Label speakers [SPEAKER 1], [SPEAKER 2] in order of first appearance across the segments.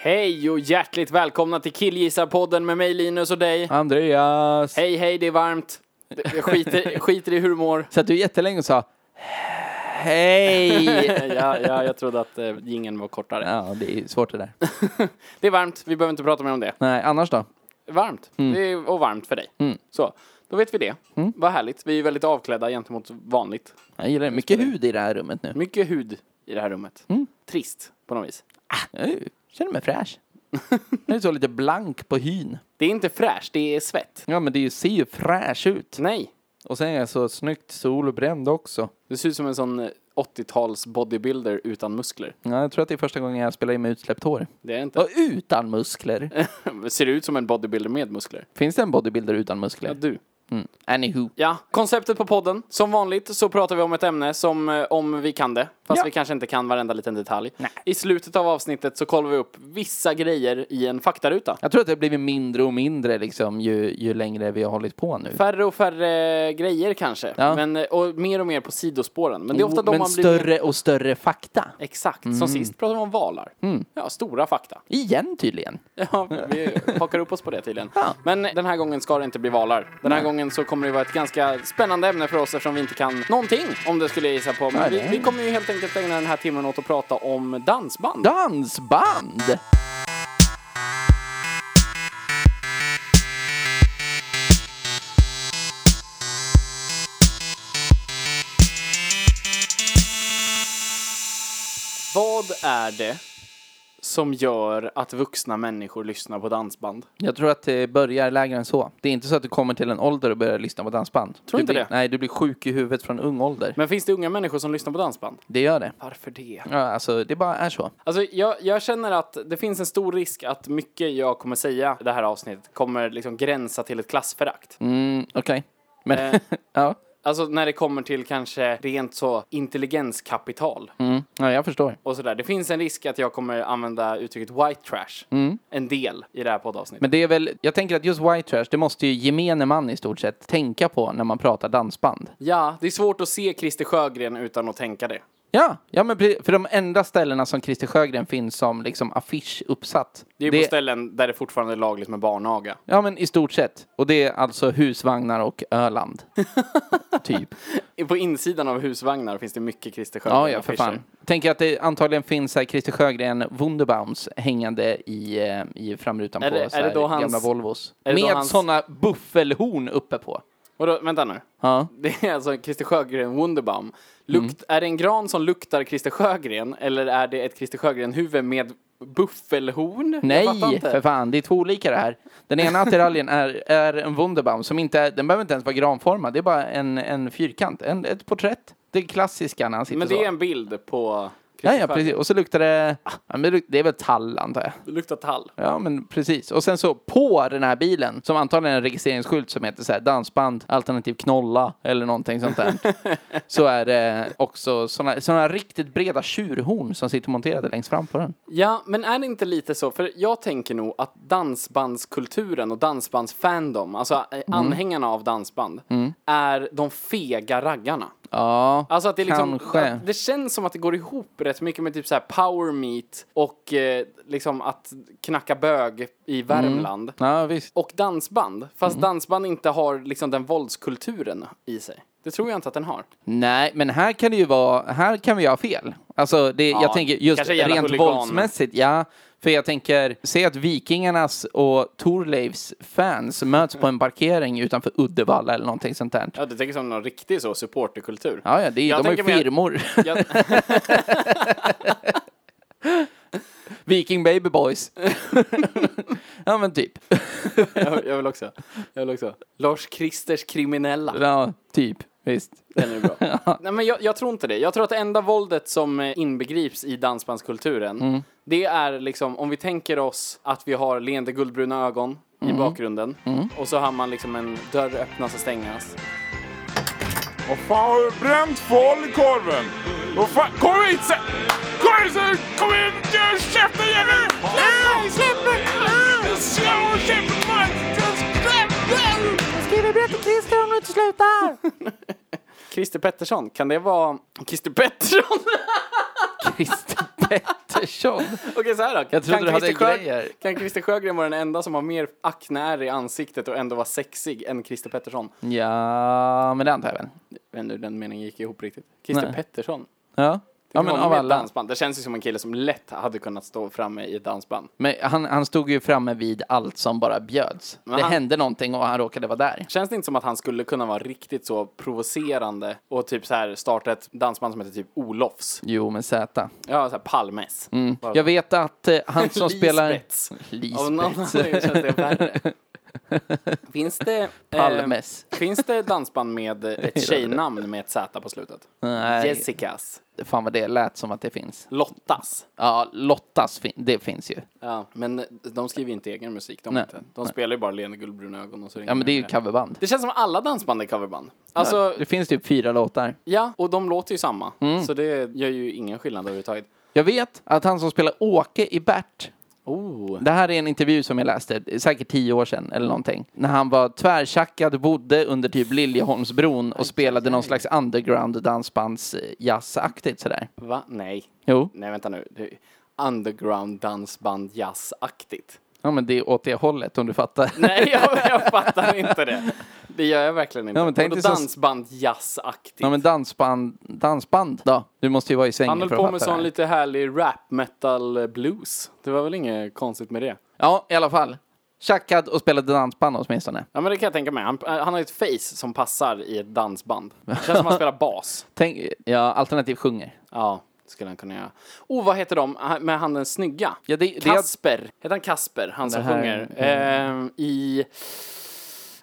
[SPEAKER 1] Hej och hjärtligt välkomna till Killgissarpodden med mig Linus och dig.
[SPEAKER 2] Andreas!
[SPEAKER 1] Hej hej, det är varmt. Jag skiter, skiter i hur du mår.
[SPEAKER 2] Satt du jättelänge och sa Hej!
[SPEAKER 1] ja, ja, jag trodde att eh, jingeln var kortare.
[SPEAKER 2] ja, det är svårt det där.
[SPEAKER 1] Det är varmt, vi behöver inte prata mer om det.
[SPEAKER 2] Nej, annars då?
[SPEAKER 1] Varmt, det är, och varmt för dig. Så, då vet vi det. Vad härligt, vi är väldigt avklädda gentemot vanligt.
[SPEAKER 2] Jag gillar det. Mycket hud i det här rummet nu.
[SPEAKER 1] Mycket hud i det här rummet. Trist, på något vis.
[SPEAKER 2] Jag känner mig fräsch. Jag är så lite blank på hyn.
[SPEAKER 1] Det är inte fräscht, det är svett.
[SPEAKER 2] Ja, men det ser ju fräsch ut.
[SPEAKER 1] Nej,
[SPEAKER 2] Och sen är jag så snyggt solbränd också.
[SPEAKER 1] du ser ut som en sån eh, 80-tals bodybuilder utan muskler.
[SPEAKER 2] Ja, jag tror att det är första gången jag spelar in med utsläppt hår.
[SPEAKER 1] Det är det inte.
[SPEAKER 2] Och utan muskler.
[SPEAKER 1] Ser du ut som en bodybuilder med muskler?
[SPEAKER 2] Finns det en bodybuilder utan
[SPEAKER 1] Ja,
[SPEAKER 2] muskler?
[SPEAKER 1] du.
[SPEAKER 2] Mm. Anywho.
[SPEAKER 1] Ja, konceptet på podden. Som vanligt så pratar vi om ett ämne som eh, om vi kan det, fast
[SPEAKER 2] Ja.
[SPEAKER 1] vi kanske inte kan varenda liten detalj. I slutet av avsnittet så kollar vi upp vissa grejer i en faktaruta.
[SPEAKER 2] Jag tror att det har blivit mindre och mindre liksom ju, ju längre vi har hållit på nu.
[SPEAKER 1] Färre och färre grejer kanske,
[SPEAKER 2] Ja. Oh,
[SPEAKER 1] men, eh, och mer och mer på sidospåren. Men det är ofta de
[SPEAKER 2] Men Mm.
[SPEAKER 1] man blir...
[SPEAKER 2] större och större fakta.
[SPEAKER 1] Exakt, som sist pratade vi om valar.
[SPEAKER 2] Mm.
[SPEAKER 1] Ja, stora fakta.
[SPEAKER 2] Igen tydligen.
[SPEAKER 1] Ja, vi hakar upp oss på det tydligen. Men den här gången ska det inte bli valar. Den här gången så kommer det vara ett ganska spännande ämne för oss eftersom vi inte kan någonting om det skulle jag gissa på. Men
[SPEAKER 2] Nej,
[SPEAKER 1] vi,
[SPEAKER 2] det är-
[SPEAKER 1] vi kommer ju helt enkelt ägna den här timmen åt att prata om dansband.
[SPEAKER 2] Dansband!
[SPEAKER 1] Vad är det som gör att vuxna människor lyssnar på dansband?
[SPEAKER 2] Jag tror att det börjar lägre än så. Det är inte så att du kommer till en ålder och börjar lyssna på dansband. Tror du
[SPEAKER 1] inte
[SPEAKER 2] blir,
[SPEAKER 1] det?
[SPEAKER 2] Nej, du blir sjuk i huvudet från ung ålder.
[SPEAKER 1] Men finns det unga människor som lyssnar på dansband?
[SPEAKER 2] Det gör det.
[SPEAKER 1] Varför det?
[SPEAKER 2] Ja, alltså, det bara är så.
[SPEAKER 1] Alltså, jag, jag känner att det finns en stor risk att mycket jag kommer säga i det här avsnittet kommer liksom gränsa till ett klassförakt.
[SPEAKER 2] Mm, okej. Men,
[SPEAKER 1] Eh.
[SPEAKER 2] ja.
[SPEAKER 1] Alltså när det kommer till kanske rent så intelligenskapital
[SPEAKER 2] Mm, ja, jag förstår.
[SPEAKER 1] och sådär. Det finns en risk att jag kommer använda uttrycket white trash
[SPEAKER 2] Mm.
[SPEAKER 1] en del i det här poddavsnittet.
[SPEAKER 2] Men det är väl, jag tänker att just white trash, det måste ju gemene man i stort sett tänka på när man pratar dansband.
[SPEAKER 1] ja, det är svårt att se Christer Sjögren utan att tänka det.
[SPEAKER 2] Ja, ja men pre- för de enda ställena som Christer Sjögren finns som liksom affisch uppsatt.
[SPEAKER 1] Det är på ställen där det fortfarande är lagligt med barnaga.
[SPEAKER 2] Ja, men i stort sett. Och det är alltså husvagnar och Öland. typ.
[SPEAKER 1] På insidan av husvagnar finns det mycket Christer Sjögren.
[SPEAKER 2] Ja, ja, för fan. Tänker att det antagligen finns så här Christer Sjögren Wunderbaums hängande i, eh, i framrutan
[SPEAKER 1] Är
[SPEAKER 2] på
[SPEAKER 1] det- är
[SPEAKER 2] så här
[SPEAKER 1] det då hans-
[SPEAKER 2] gamla Volvos.
[SPEAKER 1] är det då
[SPEAKER 2] Med
[SPEAKER 1] hans-
[SPEAKER 2] sådana buffelhorn uppe på.
[SPEAKER 1] Och då, vänta nu.
[SPEAKER 2] Ja. Mm.
[SPEAKER 1] Det är alltså Christer Sjögren Wunderbaum. Lukt, Är det en gran som luktar Christer Sjögren eller är det ett Christer Sjögren-huvud med buffelhorn? Jag fattar
[SPEAKER 2] Nej,
[SPEAKER 1] inte.
[SPEAKER 2] för fan. Det är två olika det här. Den ena attiraljen är, är en Wunderbaum som inte är, den behöver inte ens vara granformad. Det är bara en, en fyrkant, en, ett porträtt. Det klassiska när han sitter
[SPEAKER 1] Men det
[SPEAKER 2] så.
[SPEAKER 1] är en bild på
[SPEAKER 2] Ja,
[SPEAKER 1] Christer
[SPEAKER 2] ja,
[SPEAKER 1] Sjögren.
[SPEAKER 2] precis. Och så luktar det... ah, Ja, men det luk- det är väl tall, antar jag.
[SPEAKER 1] Det luktar tall.
[SPEAKER 2] Ja, men precis. Och sen så på den här bilen, som antagligen är en registreringsskylt som heter så här dansband, alternativ knolla eller någonting sånt där. så är det också såna, såna riktigt breda tjurhorn som sitter monterade längst fram på den.
[SPEAKER 1] Ja, men är det inte lite så? För jag tänker nog att dansbandskulturen och dansbandsfandom, alltså
[SPEAKER 2] Mm.
[SPEAKER 1] eh, anhängarna av dansband, är de fega raggarna.
[SPEAKER 2] Ja,
[SPEAKER 1] Alltså att det är liksom,
[SPEAKER 2] Kanske.
[SPEAKER 1] Att det känns som att det går ihop rätt mycket med typ så här power meet och eh, liksom att knacka bög i
[SPEAKER 2] Mm.
[SPEAKER 1] Värmland.
[SPEAKER 2] ja visst.
[SPEAKER 1] Och dansband, fast
[SPEAKER 2] Mm.
[SPEAKER 1] dansband inte har liksom den våldskulturen i sig. Det tror jag inte att den har.
[SPEAKER 2] Nej, men här kan det ju vara, här kan vi ha fel. Alltså, det, jag tänker just
[SPEAKER 1] kanske gäller
[SPEAKER 2] rent
[SPEAKER 1] huliganer.
[SPEAKER 2] våldsmässigt, ja. För jag tänker, se att Vikingarnas och Thorleifs fans möts på en parkering utanför Uddevalla eller någonting sånt där.
[SPEAKER 1] Ja, du tänker som någon riktig så supporterkultur.
[SPEAKER 2] Ja, ja, det är,
[SPEAKER 1] Jag
[SPEAKER 2] de har ju
[SPEAKER 1] tänker mer-
[SPEAKER 2] firmor.
[SPEAKER 1] Jag,
[SPEAKER 2] Viking Baby Boys. ja, men typ.
[SPEAKER 1] jag, jag vill också. Jag vill också. Lars Kristers kriminella.
[SPEAKER 2] Ja, typ. Visst.
[SPEAKER 1] Den är bra. Nej, men jag, jag tror inte det. Jag tror att det enda våldet som eh, inbegrips i dansbandskulturen,
[SPEAKER 2] Mm.
[SPEAKER 1] det är liksom om vi tänker oss att vi har leende guldbruna ögon
[SPEAKER 2] Mm.
[SPEAKER 1] i bakgrunden och så har man liksom en dörr öppnas och stängas.
[SPEAKER 3] Vad fan har du bränt folk i korven? Vad fan? Kom hit sen! Kom hit sen! Kom hit! Gör Käften jävel! Nej, Släpp mig! Nej, Slå käften på mig! Släpp mig!
[SPEAKER 1] Christer Pettersson, kan det vara... Christer Pettersson?
[SPEAKER 2] Christer Pettersson.
[SPEAKER 1] Okej, så här då.
[SPEAKER 2] Jag trodde
[SPEAKER 1] Kan
[SPEAKER 2] du hade
[SPEAKER 1] Christer Sjö-
[SPEAKER 2] grejer.
[SPEAKER 1] Kan Christer Sjögren vara den enda som har mer akneär i ansiktet och ändå vara sexig än Christer Pettersson?
[SPEAKER 2] Mm. Ja, men det antar jag väl.
[SPEAKER 1] Jag vet inte hur den meningen gick ihop riktigt. Christer
[SPEAKER 2] Nej.
[SPEAKER 1] Pettersson?
[SPEAKER 2] Ja. Ja,
[SPEAKER 1] Honom
[SPEAKER 2] men av
[SPEAKER 1] i ett
[SPEAKER 2] alla.
[SPEAKER 1] Dansband. Det känns ju som en kille som lätt hade kunnat stå framme i ett dansband.
[SPEAKER 2] Men han, han stod ju framme vid allt som bara bjöds. det
[SPEAKER 1] han-
[SPEAKER 2] hände någonting och han råkade vara där.
[SPEAKER 1] Känns det inte som att han skulle kunna vara riktigt så provocerande och typ så här starta ett dansband som heter typ Olofs?
[SPEAKER 2] Jo, men Z.
[SPEAKER 1] Ja, så här Palmes. Bara-
[SPEAKER 2] Mm. Jag vet att eh, han som spelar...
[SPEAKER 1] Lisbeths. Av någon
[SPEAKER 2] Lisbeth.
[SPEAKER 1] anledning känns det värre. Finns det... eh,
[SPEAKER 2] Palmes.
[SPEAKER 1] Finns det dansband med ett tjejnamn med ett Z på slutet?
[SPEAKER 2] Nej.
[SPEAKER 1] Jessicas.
[SPEAKER 2] Fan vad det lät som att det finns.
[SPEAKER 1] Lottas.
[SPEAKER 2] Ja, Lottas, fin- det finns ju.
[SPEAKER 1] Ja, men de skriver inte egen musik, de
[SPEAKER 2] Nej.
[SPEAKER 1] inte. De spelar ju bara Leende guldbruna ögon och så
[SPEAKER 2] Ja, men det är ju coverband.
[SPEAKER 1] Det känns som att alla dansband är coverband. Alltså,
[SPEAKER 2] Det finns typ fyra låtar.
[SPEAKER 1] ja, och de låter ju samma.
[SPEAKER 2] Mm.
[SPEAKER 1] Så det gör ju ingen skillnad överhuvudtaget.
[SPEAKER 2] Jag vet att han som spelar Åke i Bert
[SPEAKER 1] Oh.
[SPEAKER 2] Det här är en intervju som jag läste, säkert tio år sedan eller någonting. När han var tvärtjackad, bodde under typ Liljeholmsbron och spelade någon slags underground dansbands eh, jazzaktigt sådär.
[SPEAKER 1] Va? Nej.
[SPEAKER 2] Jo,
[SPEAKER 1] Nej, vänta nu. Det är underground dansband jazzaktigt.
[SPEAKER 2] ja men det är åt det hållet om du fattar.
[SPEAKER 1] Nej, jag, jag fattar inte det. Det gör jag verkligen inte.
[SPEAKER 2] Ja, men tänk
[SPEAKER 1] Vadå
[SPEAKER 2] dig så-
[SPEAKER 1] dansband jazzaktigt?
[SPEAKER 2] Ja men dansband, dansband då? Du måste ju vara i
[SPEAKER 1] Han
[SPEAKER 2] svängen
[SPEAKER 1] höll
[SPEAKER 2] för att fatta
[SPEAKER 1] på med
[SPEAKER 2] det här.
[SPEAKER 1] sån lite härlig rap metal eh, blues. Det var väl inget konstigt med det?
[SPEAKER 2] Ja, i alla fall. Tjackad och spelade dansband åtminstone.
[SPEAKER 1] Ja men det kan jag tänka mig. Han, eh, han har ju ett face som passar i ett dansband. Det känns som att han spelar bas.
[SPEAKER 2] Tänk, ja, alternativt sjunger.
[SPEAKER 1] Ja, det skulle han kunna göra. Oh, vad heter de Han- med han den snygga?
[SPEAKER 2] Ja, det, det,
[SPEAKER 1] Kasper. Heter han Kasper? Han som
[SPEAKER 2] här- Mm.
[SPEAKER 1] sjunger. Ehm, I...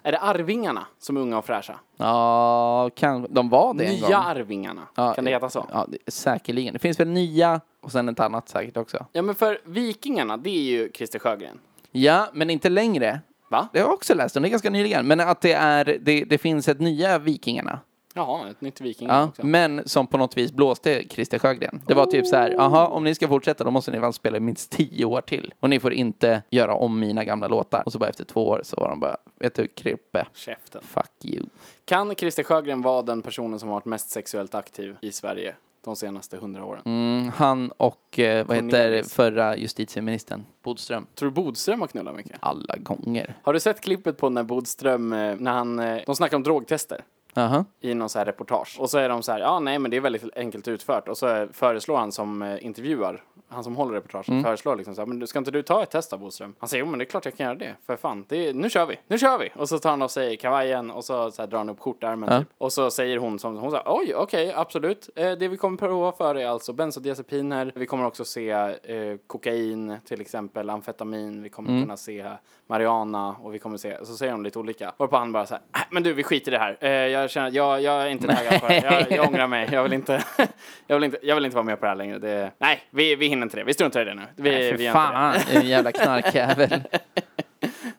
[SPEAKER 1] Är det Arvingarna som är unga och fräscha?
[SPEAKER 2] ja, kan, de var det en gång.
[SPEAKER 1] Nya Arvingarna.
[SPEAKER 2] Ja,
[SPEAKER 1] kan det heta så?
[SPEAKER 2] Ja, det- säkerligen. Det finns väl nya och sen ett annat säkert också.
[SPEAKER 1] Ja men för Vikingarna, det är ju Christer Sjögren.
[SPEAKER 2] Ja, men inte längre.
[SPEAKER 1] Va?
[SPEAKER 2] Det har jag också läst om, det är ganska nyligen. Men att det, är, det, det finns ett nya Vikingarna.
[SPEAKER 1] Jaha, ett nytt Vikingarna
[SPEAKER 2] Ja,
[SPEAKER 1] också.
[SPEAKER 2] men som på något vis blåste Christer Sjögren. Det var typ så här, jaha, om ni ska fortsätta då måste ni väl spela i minst tio år till. Och ni får inte göra om mina gamla låtar. Och så bara efter två år så var de bara, vet du, Krippe,
[SPEAKER 1] Käften.
[SPEAKER 2] fuck you.
[SPEAKER 1] Kan Christer Sjögren vara den personen som har varit mest sexuellt aktiv i Sverige de senaste hundra åren?
[SPEAKER 2] Mm, han och, eh, vad heter
[SPEAKER 1] Cornelis.
[SPEAKER 2] förra justitieministern? Bodström.
[SPEAKER 1] Tror du Bodström har knullat mycket?
[SPEAKER 2] Alla gånger.
[SPEAKER 1] Har du sett klippet på när Bodström, eh, när han, eh, de snackar om drogtester
[SPEAKER 2] Jaha.
[SPEAKER 1] i någon så här reportage. Och så är de så här, ja nej men det är väldigt enkelt utfört. Och så eh, föreslår han som eh, intervjuar, han som håller reportaget, föreslår liksom så här, men du- ska inte du ta ett test av Bodström? Han säger, jo men det är klart jag kan göra det, för fan, det är, nu kör vi, nu kör vi! Och så tar han av sig kavajen och så, så här, drar han upp skjortärmen typ. Och så säger hon som, hon säger, oj okej, absolut. Eh, det vi kommer prova för är alltså bensodiazepiner, vi kommer också se eh, kokain till exempel, amfetamin, vi kommer kunna se marijuana och vi kommer se, så säger hon lite olika. Varpå han bara så här, "Äh, men du vi skiter i det här. Eh, jag känner att jag, jag är inte taggad på det. Jag, jag ångrar mig. Jag vill, inte, jag, vill inte, jag vill inte vara med på det här längre. Det, nej, vi, vi hinner inte det. Vi struntar i det nu. Vi,
[SPEAKER 2] Fy
[SPEAKER 1] vi gör inte
[SPEAKER 2] fan, en jävla knarkjävel.
[SPEAKER 1] det.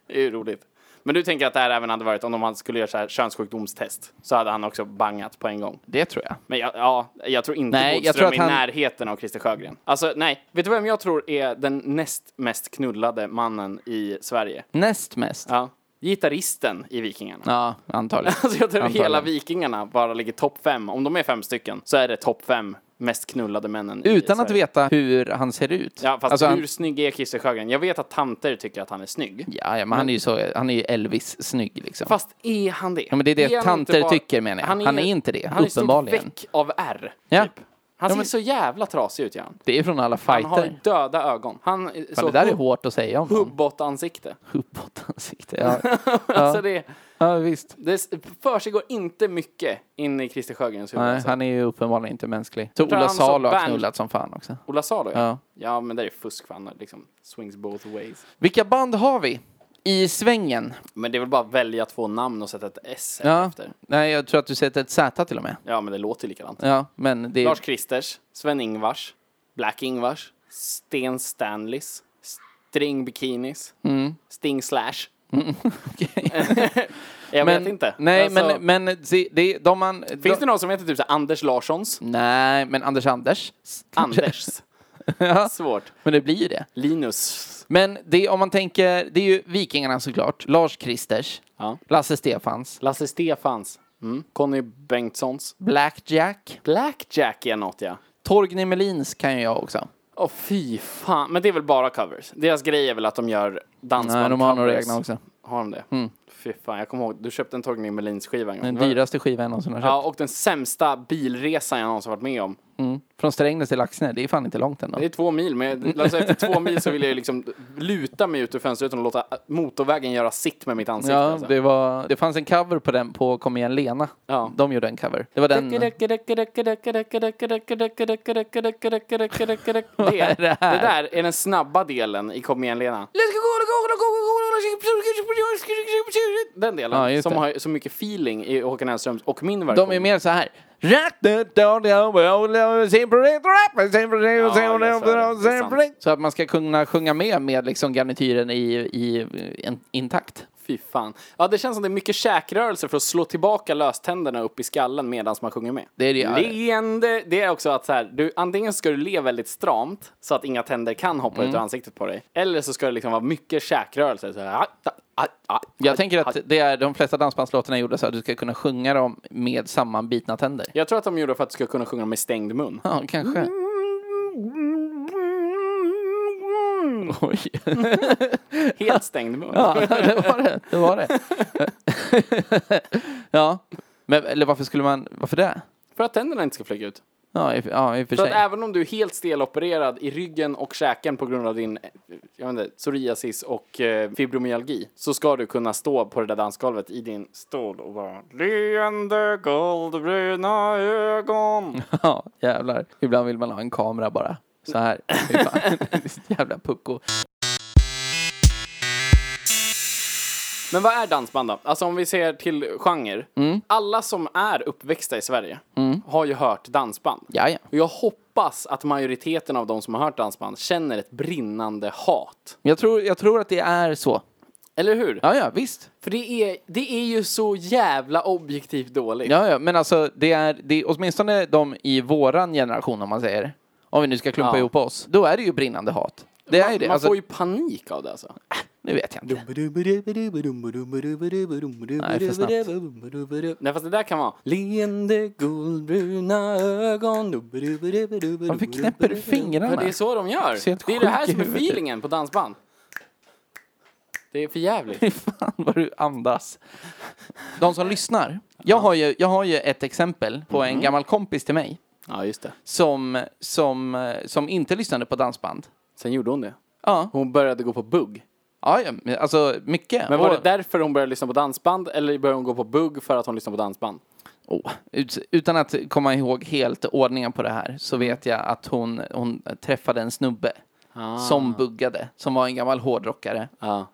[SPEAKER 1] det är ju roligt. Men du tänker att det här även hade varit om de hade- skulle göra så här könssjukdomstest så hade han också bangat på en gång.
[SPEAKER 2] Det tror jag.
[SPEAKER 1] Men jag, ja, jag tror inte
[SPEAKER 2] Nej, jag
[SPEAKER 1] nej, Bodström
[SPEAKER 2] tror att
[SPEAKER 1] är i
[SPEAKER 2] han-
[SPEAKER 1] närheten av Christer Sjögren. Alltså nej, vet du vem jag tror är den näst mest knullade mannen i Sverige?
[SPEAKER 2] Näst mest.
[SPEAKER 1] Ja, gitarristen i Vikingarna.
[SPEAKER 2] Ja, antagligen.
[SPEAKER 1] Alltså jag tror
[SPEAKER 2] Antagligen.
[SPEAKER 1] hela Vikingarna bara ligger topp fem. Om de är fem stycken så är det topp fem mest knullade männen i
[SPEAKER 2] Utan att
[SPEAKER 1] Sverige.
[SPEAKER 2] veta hur han ser ut.
[SPEAKER 1] Ja, fast
[SPEAKER 2] Alltså,
[SPEAKER 1] hur
[SPEAKER 2] han,
[SPEAKER 1] snygg är Christer Sjögren? Jag vet att tanter tycker att han är snygg.
[SPEAKER 2] ja, ja, men han är ju så, han är ju Elvis-snygg liksom.
[SPEAKER 1] Fast är han det?
[SPEAKER 2] ja, men det är det
[SPEAKER 1] han
[SPEAKER 2] tanter
[SPEAKER 1] inte bara-
[SPEAKER 2] tycker menar jag. Han är, inte det,
[SPEAKER 1] Han är ett stort
[SPEAKER 2] uppenbarligen.
[SPEAKER 1] väck av R.
[SPEAKER 2] Ja.
[SPEAKER 1] Typ.
[SPEAKER 2] Ja,
[SPEAKER 1] Han ser
[SPEAKER 2] men-
[SPEAKER 1] så jävla trasig ut, gör han.
[SPEAKER 2] Det är från alla
[SPEAKER 1] Han har
[SPEAKER 2] fighter.
[SPEAKER 1] döda ögon. Han är
[SPEAKER 2] Fan,
[SPEAKER 1] så
[SPEAKER 2] det där är
[SPEAKER 1] hub-
[SPEAKER 2] hårt att säga om honom.
[SPEAKER 1] hubbot-ansikte.
[SPEAKER 2] Uppåtansikte. Ja.
[SPEAKER 1] Alltså det,
[SPEAKER 2] ja, visst.
[SPEAKER 1] det s- försiggår inte mycket inne i Christer Sjögrens huvud.
[SPEAKER 2] Nej,
[SPEAKER 1] alltså.
[SPEAKER 2] han är ju uppenbarligen inte mänsklig. Så
[SPEAKER 1] tror
[SPEAKER 2] Ola
[SPEAKER 1] han som
[SPEAKER 2] Salo har
[SPEAKER 1] band-
[SPEAKER 2] knullat som fan också.
[SPEAKER 1] Ola Salo, ja.
[SPEAKER 2] Ja.
[SPEAKER 1] ja. men det är fusk för han har liksom swings both ways.
[SPEAKER 2] Vilka band har vi? I svängen.
[SPEAKER 1] Men det är väl bara att välja två namn och sätta ett S
[SPEAKER 2] Ja.
[SPEAKER 1] efter.
[SPEAKER 2] Nej, jag tror att du sätter ett Z till och med.
[SPEAKER 1] Ja, men det låter ju likadant.
[SPEAKER 2] Ja, men det är...
[SPEAKER 1] Lars Kristers, Sven-Ingvars, Black-Ingvars, Sten Stanleys, String Bikinis,
[SPEAKER 2] Mm.
[SPEAKER 1] Sting Slash. jag
[SPEAKER 2] men,
[SPEAKER 1] vet inte.
[SPEAKER 2] Nej,
[SPEAKER 1] Alltså,
[SPEAKER 2] men, men det, det, de man...
[SPEAKER 1] Finns
[SPEAKER 2] de,
[SPEAKER 1] det någon som heter typ så här Anders Larssons?
[SPEAKER 2] Nej, men Anders Anders.
[SPEAKER 1] Anders.
[SPEAKER 2] Ja.
[SPEAKER 1] Svårt.
[SPEAKER 2] Men det blir ju det.
[SPEAKER 1] Linus.
[SPEAKER 2] Men det, om man tänker, det är ju Vikingarna såklart. Lars Kristers.
[SPEAKER 1] Ja.
[SPEAKER 2] Lasse Stefans.
[SPEAKER 1] Lasse Stefans. Mm. Conny Bengtssons.
[SPEAKER 2] Blackjack.
[SPEAKER 1] Blackjack är något ja.
[SPEAKER 2] Torgny Melins kan ju jag också.
[SPEAKER 1] Åh fy fan. Men det är väl bara covers? Deras grej är väl att de gör dansband
[SPEAKER 2] Nej, de har några
[SPEAKER 1] covers.
[SPEAKER 2] egna också. Mm.
[SPEAKER 1] Har de det? Fy fan, jag kommer ihåg. Du köpte en Torgny Melins skiva en gång.
[SPEAKER 2] Den
[SPEAKER 1] Det var-
[SPEAKER 2] dyraste skivan jag någonsin har köpt.
[SPEAKER 1] Ja, och den sämsta bilresan jag någonsin varit med om.
[SPEAKER 2] Från Strängnäs till Laxne, det är fan inte långt ändå.
[SPEAKER 1] Det är två mil, men alltså, efter två mil så ville jag ju liksom luta mig ut ur fönstret och låta motorvägen göra sitt med mitt ansikte.
[SPEAKER 2] Ja,
[SPEAKER 1] alltså.
[SPEAKER 2] det, var, det fanns en cover på den på Kom igen Lena.
[SPEAKER 1] Ja.
[SPEAKER 2] De gjorde en cover. Det var den.
[SPEAKER 1] Det, det där är den snabba delen i Kom igen Lena. Den delen
[SPEAKER 2] Ja, just
[SPEAKER 1] som
[SPEAKER 2] det.
[SPEAKER 1] har så mycket feeling i Håkan Hellströms och min version.
[SPEAKER 2] De är mer så här. Så att man ska kunna sjunga med med liksom garnityren i, i en, intakt.
[SPEAKER 1] Fy fan. Ja, det känns som det är mycket käkrörelse för att slå tillbaka löständerna upp i skallen medan man sjunger med.
[SPEAKER 2] Det är det.
[SPEAKER 1] Leende, det är också att så här, du, antingen ska du le väldigt stramt så att inga tänder kan hoppa
[SPEAKER 2] Mm.
[SPEAKER 1] ut ur ansiktet på dig. Eller så ska det liksom vara mycket käkrörelse. Så här, ah, ah, ah, ah,
[SPEAKER 2] Jag tänker
[SPEAKER 1] ah.
[SPEAKER 2] att det är de flesta dansbandslåtarna är gjorda så att du ska kunna sjunga dem med sammanbitna tänder.
[SPEAKER 1] Jag tror att de gjorde för att du ska kunna sjunga med stängd mun.
[SPEAKER 2] Ja, kanske. Oj.
[SPEAKER 1] Helt stängd mun.
[SPEAKER 2] Ja, det var det. det, var det. ja. Men, eller varför skulle man, varför det?
[SPEAKER 1] För att tänderna inte ska flyga ut.
[SPEAKER 2] Ja, i, ja, i och för
[SPEAKER 1] För att
[SPEAKER 2] sig.
[SPEAKER 1] även om du är helt stelopererad i ryggen och käken på grund av din eh, jag vet inte, psoriasis och eh, fibromyalgi så ska du kunna stå på det där dansgolvet i din stol och bara leende guldbruna ögon.
[SPEAKER 2] Ja, jävlar. Ibland vill man ha en kamera bara. Så här. Fy fan. Jävla pucko.
[SPEAKER 1] Men vad är dansband då? Alltså om vi ser till genre. Alla som är uppväxta i Sverige har ju hört dansband.
[SPEAKER 2] Ja, ja.
[SPEAKER 1] Och jag hoppas att majoriteten av de som har hört dansband känner ett brinnande hat.
[SPEAKER 2] Men Jag tror, jag tror att det är så.
[SPEAKER 1] Eller hur?
[SPEAKER 2] Ja, ja, visst.
[SPEAKER 1] För det är, det är ju så jävla objektivt dåligt.
[SPEAKER 2] Ja, ja, men alltså det är, det är åtminstone de i våran generation om man säger. Om vi nu ska klumpa
[SPEAKER 1] Ja.
[SPEAKER 2] ihop oss. Då är det ju brinnande hat. Det är ju det.
[SPEAKER 1] Man
[SPEAKER 2] Alltså,
[SPEAKER 1] får ju panik av det alltså.
[SPEAKER 2] nu vet jag inte.
[SPEAKER 4] Nej,
[SPEAKER 2] för
[SPEAKER 4] snabbt.
[SPEAKER 1] Nej fast det där kan vara.
[SPEAKER 4] Leende guldbruna ögon.
[SPEAKER 2] Varför knäpper du fingrarna?
[SPEAKER 1] Men det är så de gör.
[SPEAKER 2] Ser helt
[SPEAKER 1] Det är det här
[SPEAKER 2] sjuk i
[SPEAKER 1] som är
[SPEAKER 2] huvudet.
[SPEAKER 1] feelingen på dansband. Det är för jävligt.
[SPEAKER 2] Fan vad du andas. De som lyssnar. Jag har ju, jag har ju ett exempel på
[SPEAKER 1] Mm.
[SPEAKER 2] en gammal kompis till mig.
[SPEAKER 1] Ja just det.
[SPEAKER 2] Som, som, eh, som inte lyssnade på dansband.
[SPEAKER 1] Sen gjorde hon det.
[SPEAKER 2] Ja,
[SPEAKER 1] Hon började gå på bugg.
[SPEAKER 2] ja, ja men alltså mycket.
[SPEAKER 1] Men var det
[SPEAKER 2] Och-
[SPEAKER 1] därför hon började lyssna på dansband eller började hon gå på bugg för att hon lyssnade på dansband?
[SPEAKER 2] Oh, ut, utan att komma ihåg helt ordningen på det här så
[SPEAKER 1] Mm.
[SPEAKER 2] vet jag att hon, hon träffade en snubbe
[SPEAKER 1] Ah.
[SPEAKER 2] som buggade, som var en gammal hårdrockare
[SPEAKER 1] Ja.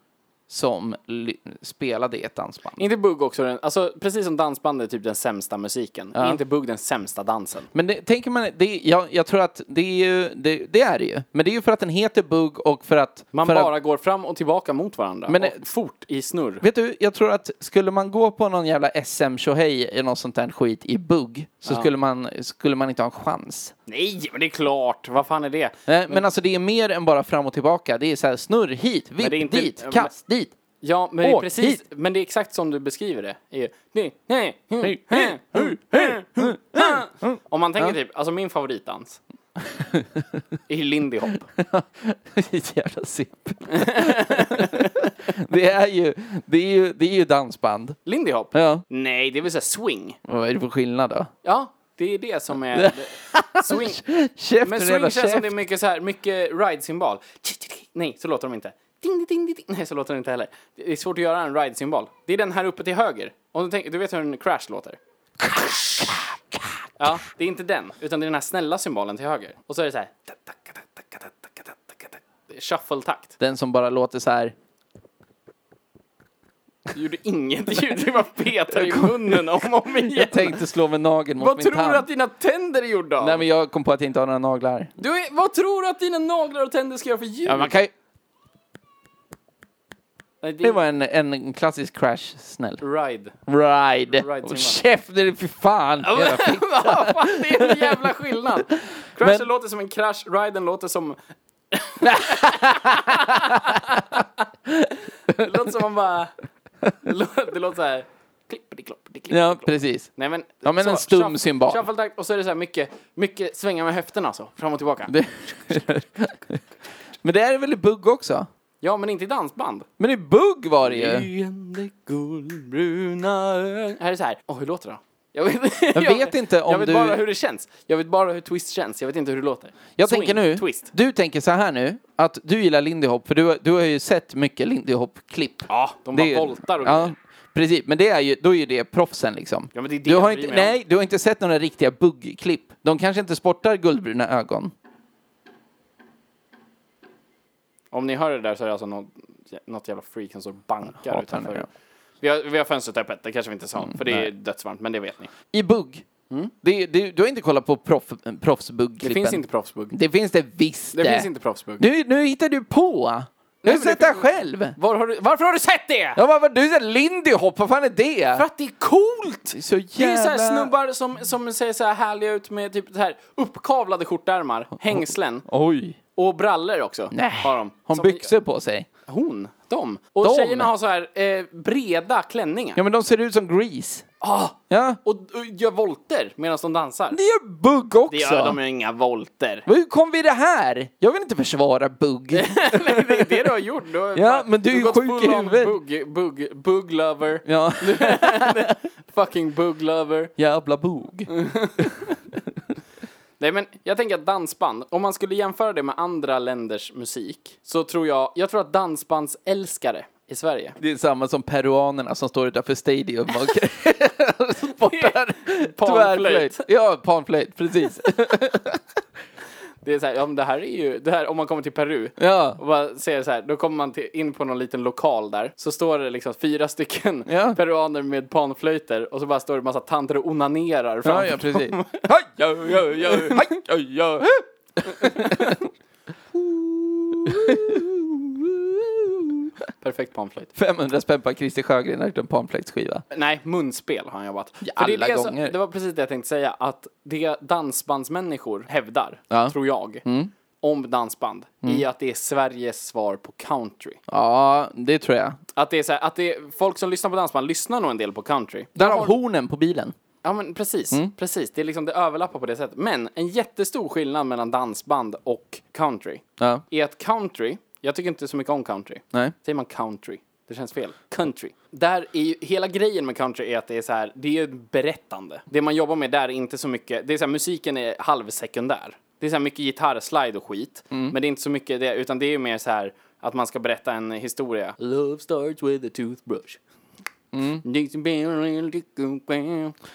[SPEAKER 2] som ly- spelade i ett dansband.
[SPEAKER 1] Inte bugg också, den, alltså precis som dansband är typ den sämsta musiken. Är inte bugg den sämsta dansen?
[SPEAKER 2] Men det, tänker man, det, jag, jag tror att det är ju, det, det är det ju. Men det är ju för att den heter bugg och för att...
[SPEAKER 1] Man
[SPEAKER 2] för
[SPEAKER 1] bara
[SPEAKER 2] att,
[SPEAKER 1] går fram och tillbaka mot varandra.
[SPEAKER 2] Men eh,
[SPEAKER 1] Men
[SPEAKER 2] det-
[SPEAKER 1] och fort i snurr.
[SPEAKER 2] Vet du, jag tror att skulle man gå på någon jävla sm tjohej eller något sånt där skit i bugg så skulle, man, skulle man inte ha en chans.
[SPEAKER 1] Nej, men det är klart! Vad fan är det?
[SPEAKER 2] Eh, Men, alltså det är mer än bara fram och tillbaka. Det är så här snurr hit, vipp
[SPEAKER 1] det är inte-
[SPEAKER 2] dit,
[SPEAKER 1] men-
[SPEAKER 2] kast dit.
[SPEAKER 1] Ja, men det är
[SPEAKER 2] Åk
[SPEAKER 1] precis,
[SPEAKER 2] hit.
[SPEAKER 1] men det är exakt som du beskriver det. Det är ju- det är- nej, hu,
[SPEAKER 2] Hej,
[SPEAKER 1] hu,
[SPEAKER 2] hej,
[SPEAKER 1] hu,
[SPEAKER 2] hu,
[SPEAKER 1] hu, hu, hu. Om man tänker typ, alltså min favoritdans är ju lindy hop.
[SPEAKER 2] Vilket jävla sipp. det, är ju, det, är ju, det är ju dansband.
[SPEAKER 1] Lindy hop?
[SPEAKER 2] Ja.
[SPEAKER 1] Nej, det är väl såhär swing?
[SPEAKER 2] Vad är det för skillnad då?
[SPEAKER 1] Ja, det är det som är swing.
[SPEAKER 2] Käften
[SPEAKER 1] Men swing
[SPEAKER 2] jävla
[SPEAKER 1] känns som
[SPEAKER 2] käft.
[SPEAKER 1] det är mycket så här, mycket ride-symbol. Nej, så låter de inte. Ding, ding, ding, ding. Nej, så låter de inte heller. Det är svårt att göra en ride-symbol. Det är den här uppe till höger. Om du, tänker, du vet hur en crash låter? Ja, det är inte den, utan det är den här snälla symbolen till höger. Och så är det så här. Det är Shuffle-takt.
[SPEAKER 2] Den som bara låter så här.
[SPEAKER 1] Du gjorde inget ljud, du bara petade i munnen om och om igen.
[SPEAKER 2] Jag tänkte slå med nageln mot
[SPEAKER 1] Vad
[SPEAKER 2] min
[SPEAKER 1] tror
[SPEAKER 2] tand.
[SPEAKER 1] du att dina tänder är gjorda av?
[SPEAKER 2] Nej men jag kom på att jag inte har några naglar.
[SPEAKER 1] du är, vad tror du att dina naglar och tänder ska göra för ljud?
[SPEAKER 2] Ja, man kan ju...
[SPEAKER 1] Nej, det
[SPEAKER 2] Det
[SPEAKER 1] är
[SPEAKER 2] var en, en klassisk crash, snäll.
[SPEAKER 1] ride.
[SPEAKER 2] Ride!
[SPEAKER 1] Ride
[SPEAKER 2] Och
[SPEAKER 1] timmar.
[SPEAKER 2] käften, fy fan! Jävla fick-
[SPEAKER 1] Vad fan, det är en jävla skillnad. Crashen
[SPEAKER 2] Men-
[SPEAKER 1] låter som en crash, riden låter som... det låter som man bara... Det låter såhär...
[SPEAKER 2] Ja, precis.
[SPEAKER 1] Nej men...
[SPEAKER 2] Ja, men en stum cymbal.
[SPEAKER 1] Shuffle-takt och så är det så här mycket, mycket svänga med höfterna så, fram och tillbaka.
[SPEAKER 2] Det... men det här är väl i bugg också?
[SPEAKER 1] Ja men inte i dansband.
[SPEAKER 2] Men i bugg var det ju!
[SPEAKER 4] Leende guldbruna ögon
[SPEAKER 1] Här är det så här, åh hur låter det då? Jag vet,
[SPEAKER 2] Jag vet inte om
[SPEAKER 1] Jag vet
[SPEAKER 2] du...
[SPEAKER 1] bara hur det känns. Jag vet bara hur twist känns. Jag vet inte hur det låter.
[SPEAKER 2] Jag
[SPEAKER 1] Swing,
[SPEAKER 2] tänker nu,
[SPEAKER 1] Twist.
[SPEAKER 2] du tänker så här nu, att du gillar Lindy Hop, för du, du har ju sett mycket Lindy Hop-klipp.
[SPEAKER 1] Ja, de
[SPEAKER 2] är
[SPEAKER 1] bara
[SPEAKER 2] ju-
[SPEAKER 1] voltar och
[SPEAKER 2] Ja,
[SPEAKER 1] grejer.
[SPEAKER 2] precis. Men det är ju, då är ju det proffsen liksom.
[SPEAKER 1] Ja, men det är det
[SPEAKER 2] du har
[SPEAKER 1] jag bryr
[SPEAKER 2] inte,
[SPEAKER 1] mig om.
[SPEAKER 2] nej, du har inte sett några riktiga buggklipp. De kanske inte sportar guldbruna ögon.
[SPEAKER 1] Om ni hör det där så är det alltså något, något jävla freak som står och bankar
[SPEAKER 2] Hatar Mm,
[SPEAKER 1] utanför.
[SPEAKER 2] den där.
[SPEAKER 1] Vi, har, vi har fönstret öppet, det kanske vi inte sa, för det är dödsvarmt, men det vet ni.
[SPEAKER 2] I bugg. Det, det, du har inte kollat på proff,
[SPEAKER 1] Mm. Det
[SPEAKER 2] proffsbuggklippen.
[SPEAKER 1] finns inte proffsbugg.
[SPEAKER 2] Det finns det visst
[SPEAKER 1] Det finns inte proffsbugg.
[SPEAKER 2] Nu, nu hittar du på! Jag har
[SPEAKER 1] men
[SPEAKER 2] sett det
[SPEAKER 1] det
[SPEAKER 2] här
[SPEAKER 1] finns-
[SPEAKER 2] själv!
[SPEAKER 1] Var har du, varför har du sett det?
[SPEAKER 2] Ja, vad var du? Lindy Hop, vad fan är det?
[SPEAKER 1] För att det är coolt!
[SPEAKER 2] Det är så
[SPEAKER 1] Det är så
[SPEAKER 2] jävla...
[SPEAKER 1] här snubbar som, som ser så här härliga ut med typ så här uppkavlade skjortärmar, hängslen
[SPEAKER 2] Oj.
[SPEAKER 1] och brallor också.
[SPEAKER 2] Nej.
[SPEAKER 1] Har de.
[SPEAKER 2] Har
[SPEAKER 1] Som-
[SPEAKER 2] byxor på sig?
[SPEAKER 1] Hon. De. Och
[SPEAKER 2] De?
[SPEAKER 1] tjejerna har så här eh, breda klänningar.
[SPEAKER 2] Ja, men de ser ut som Grease.
[SPEAKER 1] Ah,
[SPEAKER 2] Ja.
[SPEAKER 1] och, och gör volter medan de dansar.
[SPEAKER 2] Det är bugg också!
[SPEAKER 1] Det gör de ju inga volter.
[SPEAKER 2] Hur kom vi i det här? Jag vill inte försvara bugg.
[SPEAKER 1] Nej, det är det du har gjort. Du har
[SPEAKER 2] Ja, men du är
[SPEAKER 1] har
[SPEAKER 2] ju
[SPEAKER 1] gått
[SPEAKER 2] sjuk i
[SPEAKER 1] full on
[SPEAKER 2] huvudet.
[SPEAKER 1] Bug, bug, bug lover.
[SPEAKER 2] ja,
[SPEAKER 1] Fucking bug lover.
[SPEAKER 2] jävla bugg.
[SPEAKER 1] Nej, men jag tänker att dansband, om man skulle jämföra det med andra länders musik, så tror jag, jag tror att dansbandsälskare i Sverige
[SPEAKER 2] Det är samma som peruanerna som står utanför Stadium och sportar
[SPEAKER 1] Panflöjt.
[SPEAKER 2] Ja, panflöjt, precis.
[SPEAKER 1] Det är så här, ja, men det här är ju, det här, om man kommer till Peru
[SPEAKER 2] Ja.
[SPEAKER 1] och bara ser så här, då kommer man till, in på någon liten lokal där, så står det liksom fyra stycken
[SPEAKER 2] Ja.
[SPEAKER 1] peruaner med panflöjter och så bara står det massa tanter och onanerar
[SPEAKER 2] Ja,
[SPEAKER 1] framför
[SPEAKER 2] ja, precis.
[SPEAKER 1] Hej, ja, ja, ja, hej, ja, ja. Perfekt panflöjt.
[SPEAKER 2] 500 spänn på att Christer Sjögren har gjort en panflöjtsskiva.
[SPEAKER 1] Nej, munspel har han jobbat.
[SPEAKER 2] Ja,
[SPEAKER 1] För det är
[SPEAKER 2] alla
[SPEAKER 1] det som-
[SPEAKER 2] gånger.
[SPEAKER 1] Det var precis det jag tänkte säga, att det dansbandsmänniskor hävdar,
[SPEAKER 2] Ja. Mm.
[SPEAKER 1] tror jag, om dansband, är att det är Sveriges svar på country.
[SPEAKER 2] Ja, det tror jag.
[SPEAKER 1] Att det är så här, att det är, folk som lyssnar på dansband lyssnar nog en del på country.
[SPEAKER 2] Där har Mm. hornen på bilen.
[SPEAKER 1] Ja men precis, precis. Det är liksom, det överlappar på det sättet. Men en jättestor skillnad mellan dansband och country
[SPEAKER 2] Ja.
[SPEAKER 1] är att country, jag tycker inte så mycket om country.
[SPEAKER 2] Nej.
[SPEAKER 1] Säger man country? Det känns fel. Country. Där är ju, hela grejen med country är att det är så här, det är ju ett berättande. Det man jobbar med där är inte så mycket, det är så här, musiken är halvsekundär. Det är så här mycket gitarrslide och skit, men det är inte så mycket det, utan det är ju mer så här att man ska berätta en historia.
[SPEAKER 4] Love starts with a toothbrush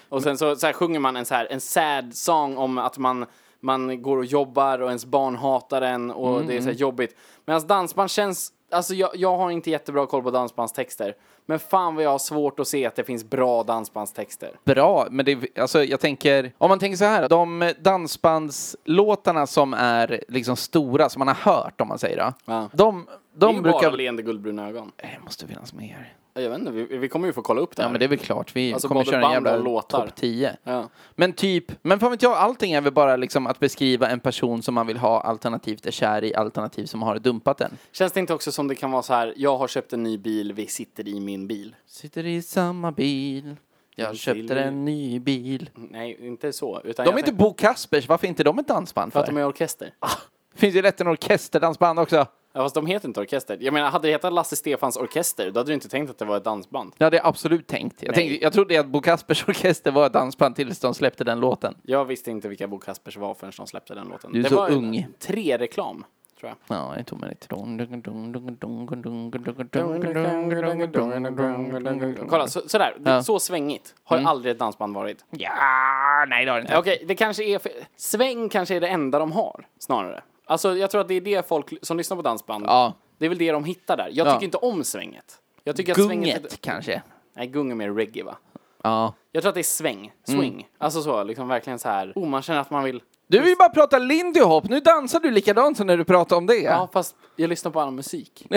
[SPEAKER 1] Och sen så, så här sjunger man en, så här, en sad song om att man, man går och jobbar och ens barn hatar en och
[SPEAKER 2] Mm,
[SPEAKER 1] det är så här jobbigt. Medan dansband känns, alltså jag, jag har inte jättebra koll på dansbandstexter. Men fan vad jag har svårt att se att det finns bra dansbandstexter.
[SPEAKER 2] bra, men det, alltså jag tänker, om man tänker så här, de dansbandslåtarna som är liksom stora, som man har hört om man säger då,
[SPEAKER 1] Ja.
[SPEAKER 2] de,
[SPEAKER 1] De det är
[SPEAKER 2] de
[SPEAKER 1] ju brukar... bara
[SPEAKER 2] brukar...
[SPEAKER 1] leende guldbruna ögon.
[SPEAKER 2] Det måste finnas mer.
[SPEAKER 1] Jag vet inte, vi, vi kommer ju få kolla upp det
[SPEAKER 2] Ja
[SPEAKER 1] här.
[SPEAKER 2] men det är väl klart, vi
[SPEAKER 1] Alltså,
[SPEAKER 2] kommer
[SPEAKER 1] både
[SPEAKER 2] köra en
[SPEAKER 1] band
[SPEAKER 2] jävla
[SPEAKER 1] och låtar.
[SPEAKER 2] topp 10.
[SPEAKER 1] Ja.
[SPEAKER 2] Men typ, men fan vet jag, allting är väl bara liksom att beskriva en person som man vill ha alternativt är kär i, alternativt som har dumpat den.
[SPEAKER 1] Känns det inte också som det kan vara så här, jag har köpt en ny bil, vi sitter i min bil.
[SPEAKER 2] Sitter i samma bil, jag
[SPEAKER 1] En
[SPEAKER 2] köpte
[SPEAKER 1] bil.
[SPEAKER 2] en ny bil.
[SPEAKER 1] Nej, inte så. Utan
[SPEAKER 2] De
[SPEAKER 1] jag
[SPEAKER 2] är inte
[SPEAKER 1] tänker-
[SPEAKER 2] Bo Kaspers, varför är inte de ett dansband
[SPEAKER 1] För
[SPEAKER 2] för?
[SPEAKER 1] att de är orkester.
[SPEAKER 2] Finns ju lätt en orkesterdansband också.
[SPEAKER 1] Ja, fast de heter inte orkester. Jag menar, hade det hetat Lasse Stefans Orkester, då hade du inte tänkt att det var ett dansband.
[SPEAKER 2] Det hade jag absolut tänkt. Jag,
[SPEAKER 1] Nej.
[SPEAKER 2] tänkte, jag trodde att Bo Kaspers Orkester var ett dansband tills de släppte den låten.
[SPEAKER 1] Jag visste inte vilka Bo Kaspers var förrän de släppte den låten.
[SPEAKER 2] Du är
[SPEAKER 1] det
[SPEAKER 2] så
[SPEAKER 1] var en
[SPEAKER 2] ung.
[SPEAKER 1] Tre-reklam, tror jag.
[SPEAKER 2] Ja, jag tog mig lite.
[SPEAKER 1] Kolla, så, sådär. Det- Så svängigt har aldrig ett dansband varit.
[SPEAKER 2] Ja, Mm. nej det har det inte.
[SPEAKER 1] Okej, det kanske är... För, sväng kanske är det enda de har, snarare. Alltså, jag tror att det är det folk som lyssnar på dansband,
[SPEAKER 2] Ja.
[SPEAKER 1] det är väl det de hittar där. Jag
[SPEAKER 2] Ja.
[SPEAKER 1] tycker inte om svänget. Jag tycker att svänget...
[SPEAKER 2] Gunget kanske?
[SPEAKER 1] Nej, gung är mer reggae va?
[SPEAKER 2] Ja.
[SPEAKER 1] Jag tror att det är sväng. Swing.
[SPEAKER 2] Mm.
[SPEAKER 1] Alltså så, liksom verkligen så här. Oh, man känner att man vill...
[SPEAKER 2] Du vill bara prata Lindy Hop, nu dansar du likadant som när du pratar om det.
[SPEAKER 1] Ja, fast jag lyssnar på annan musik.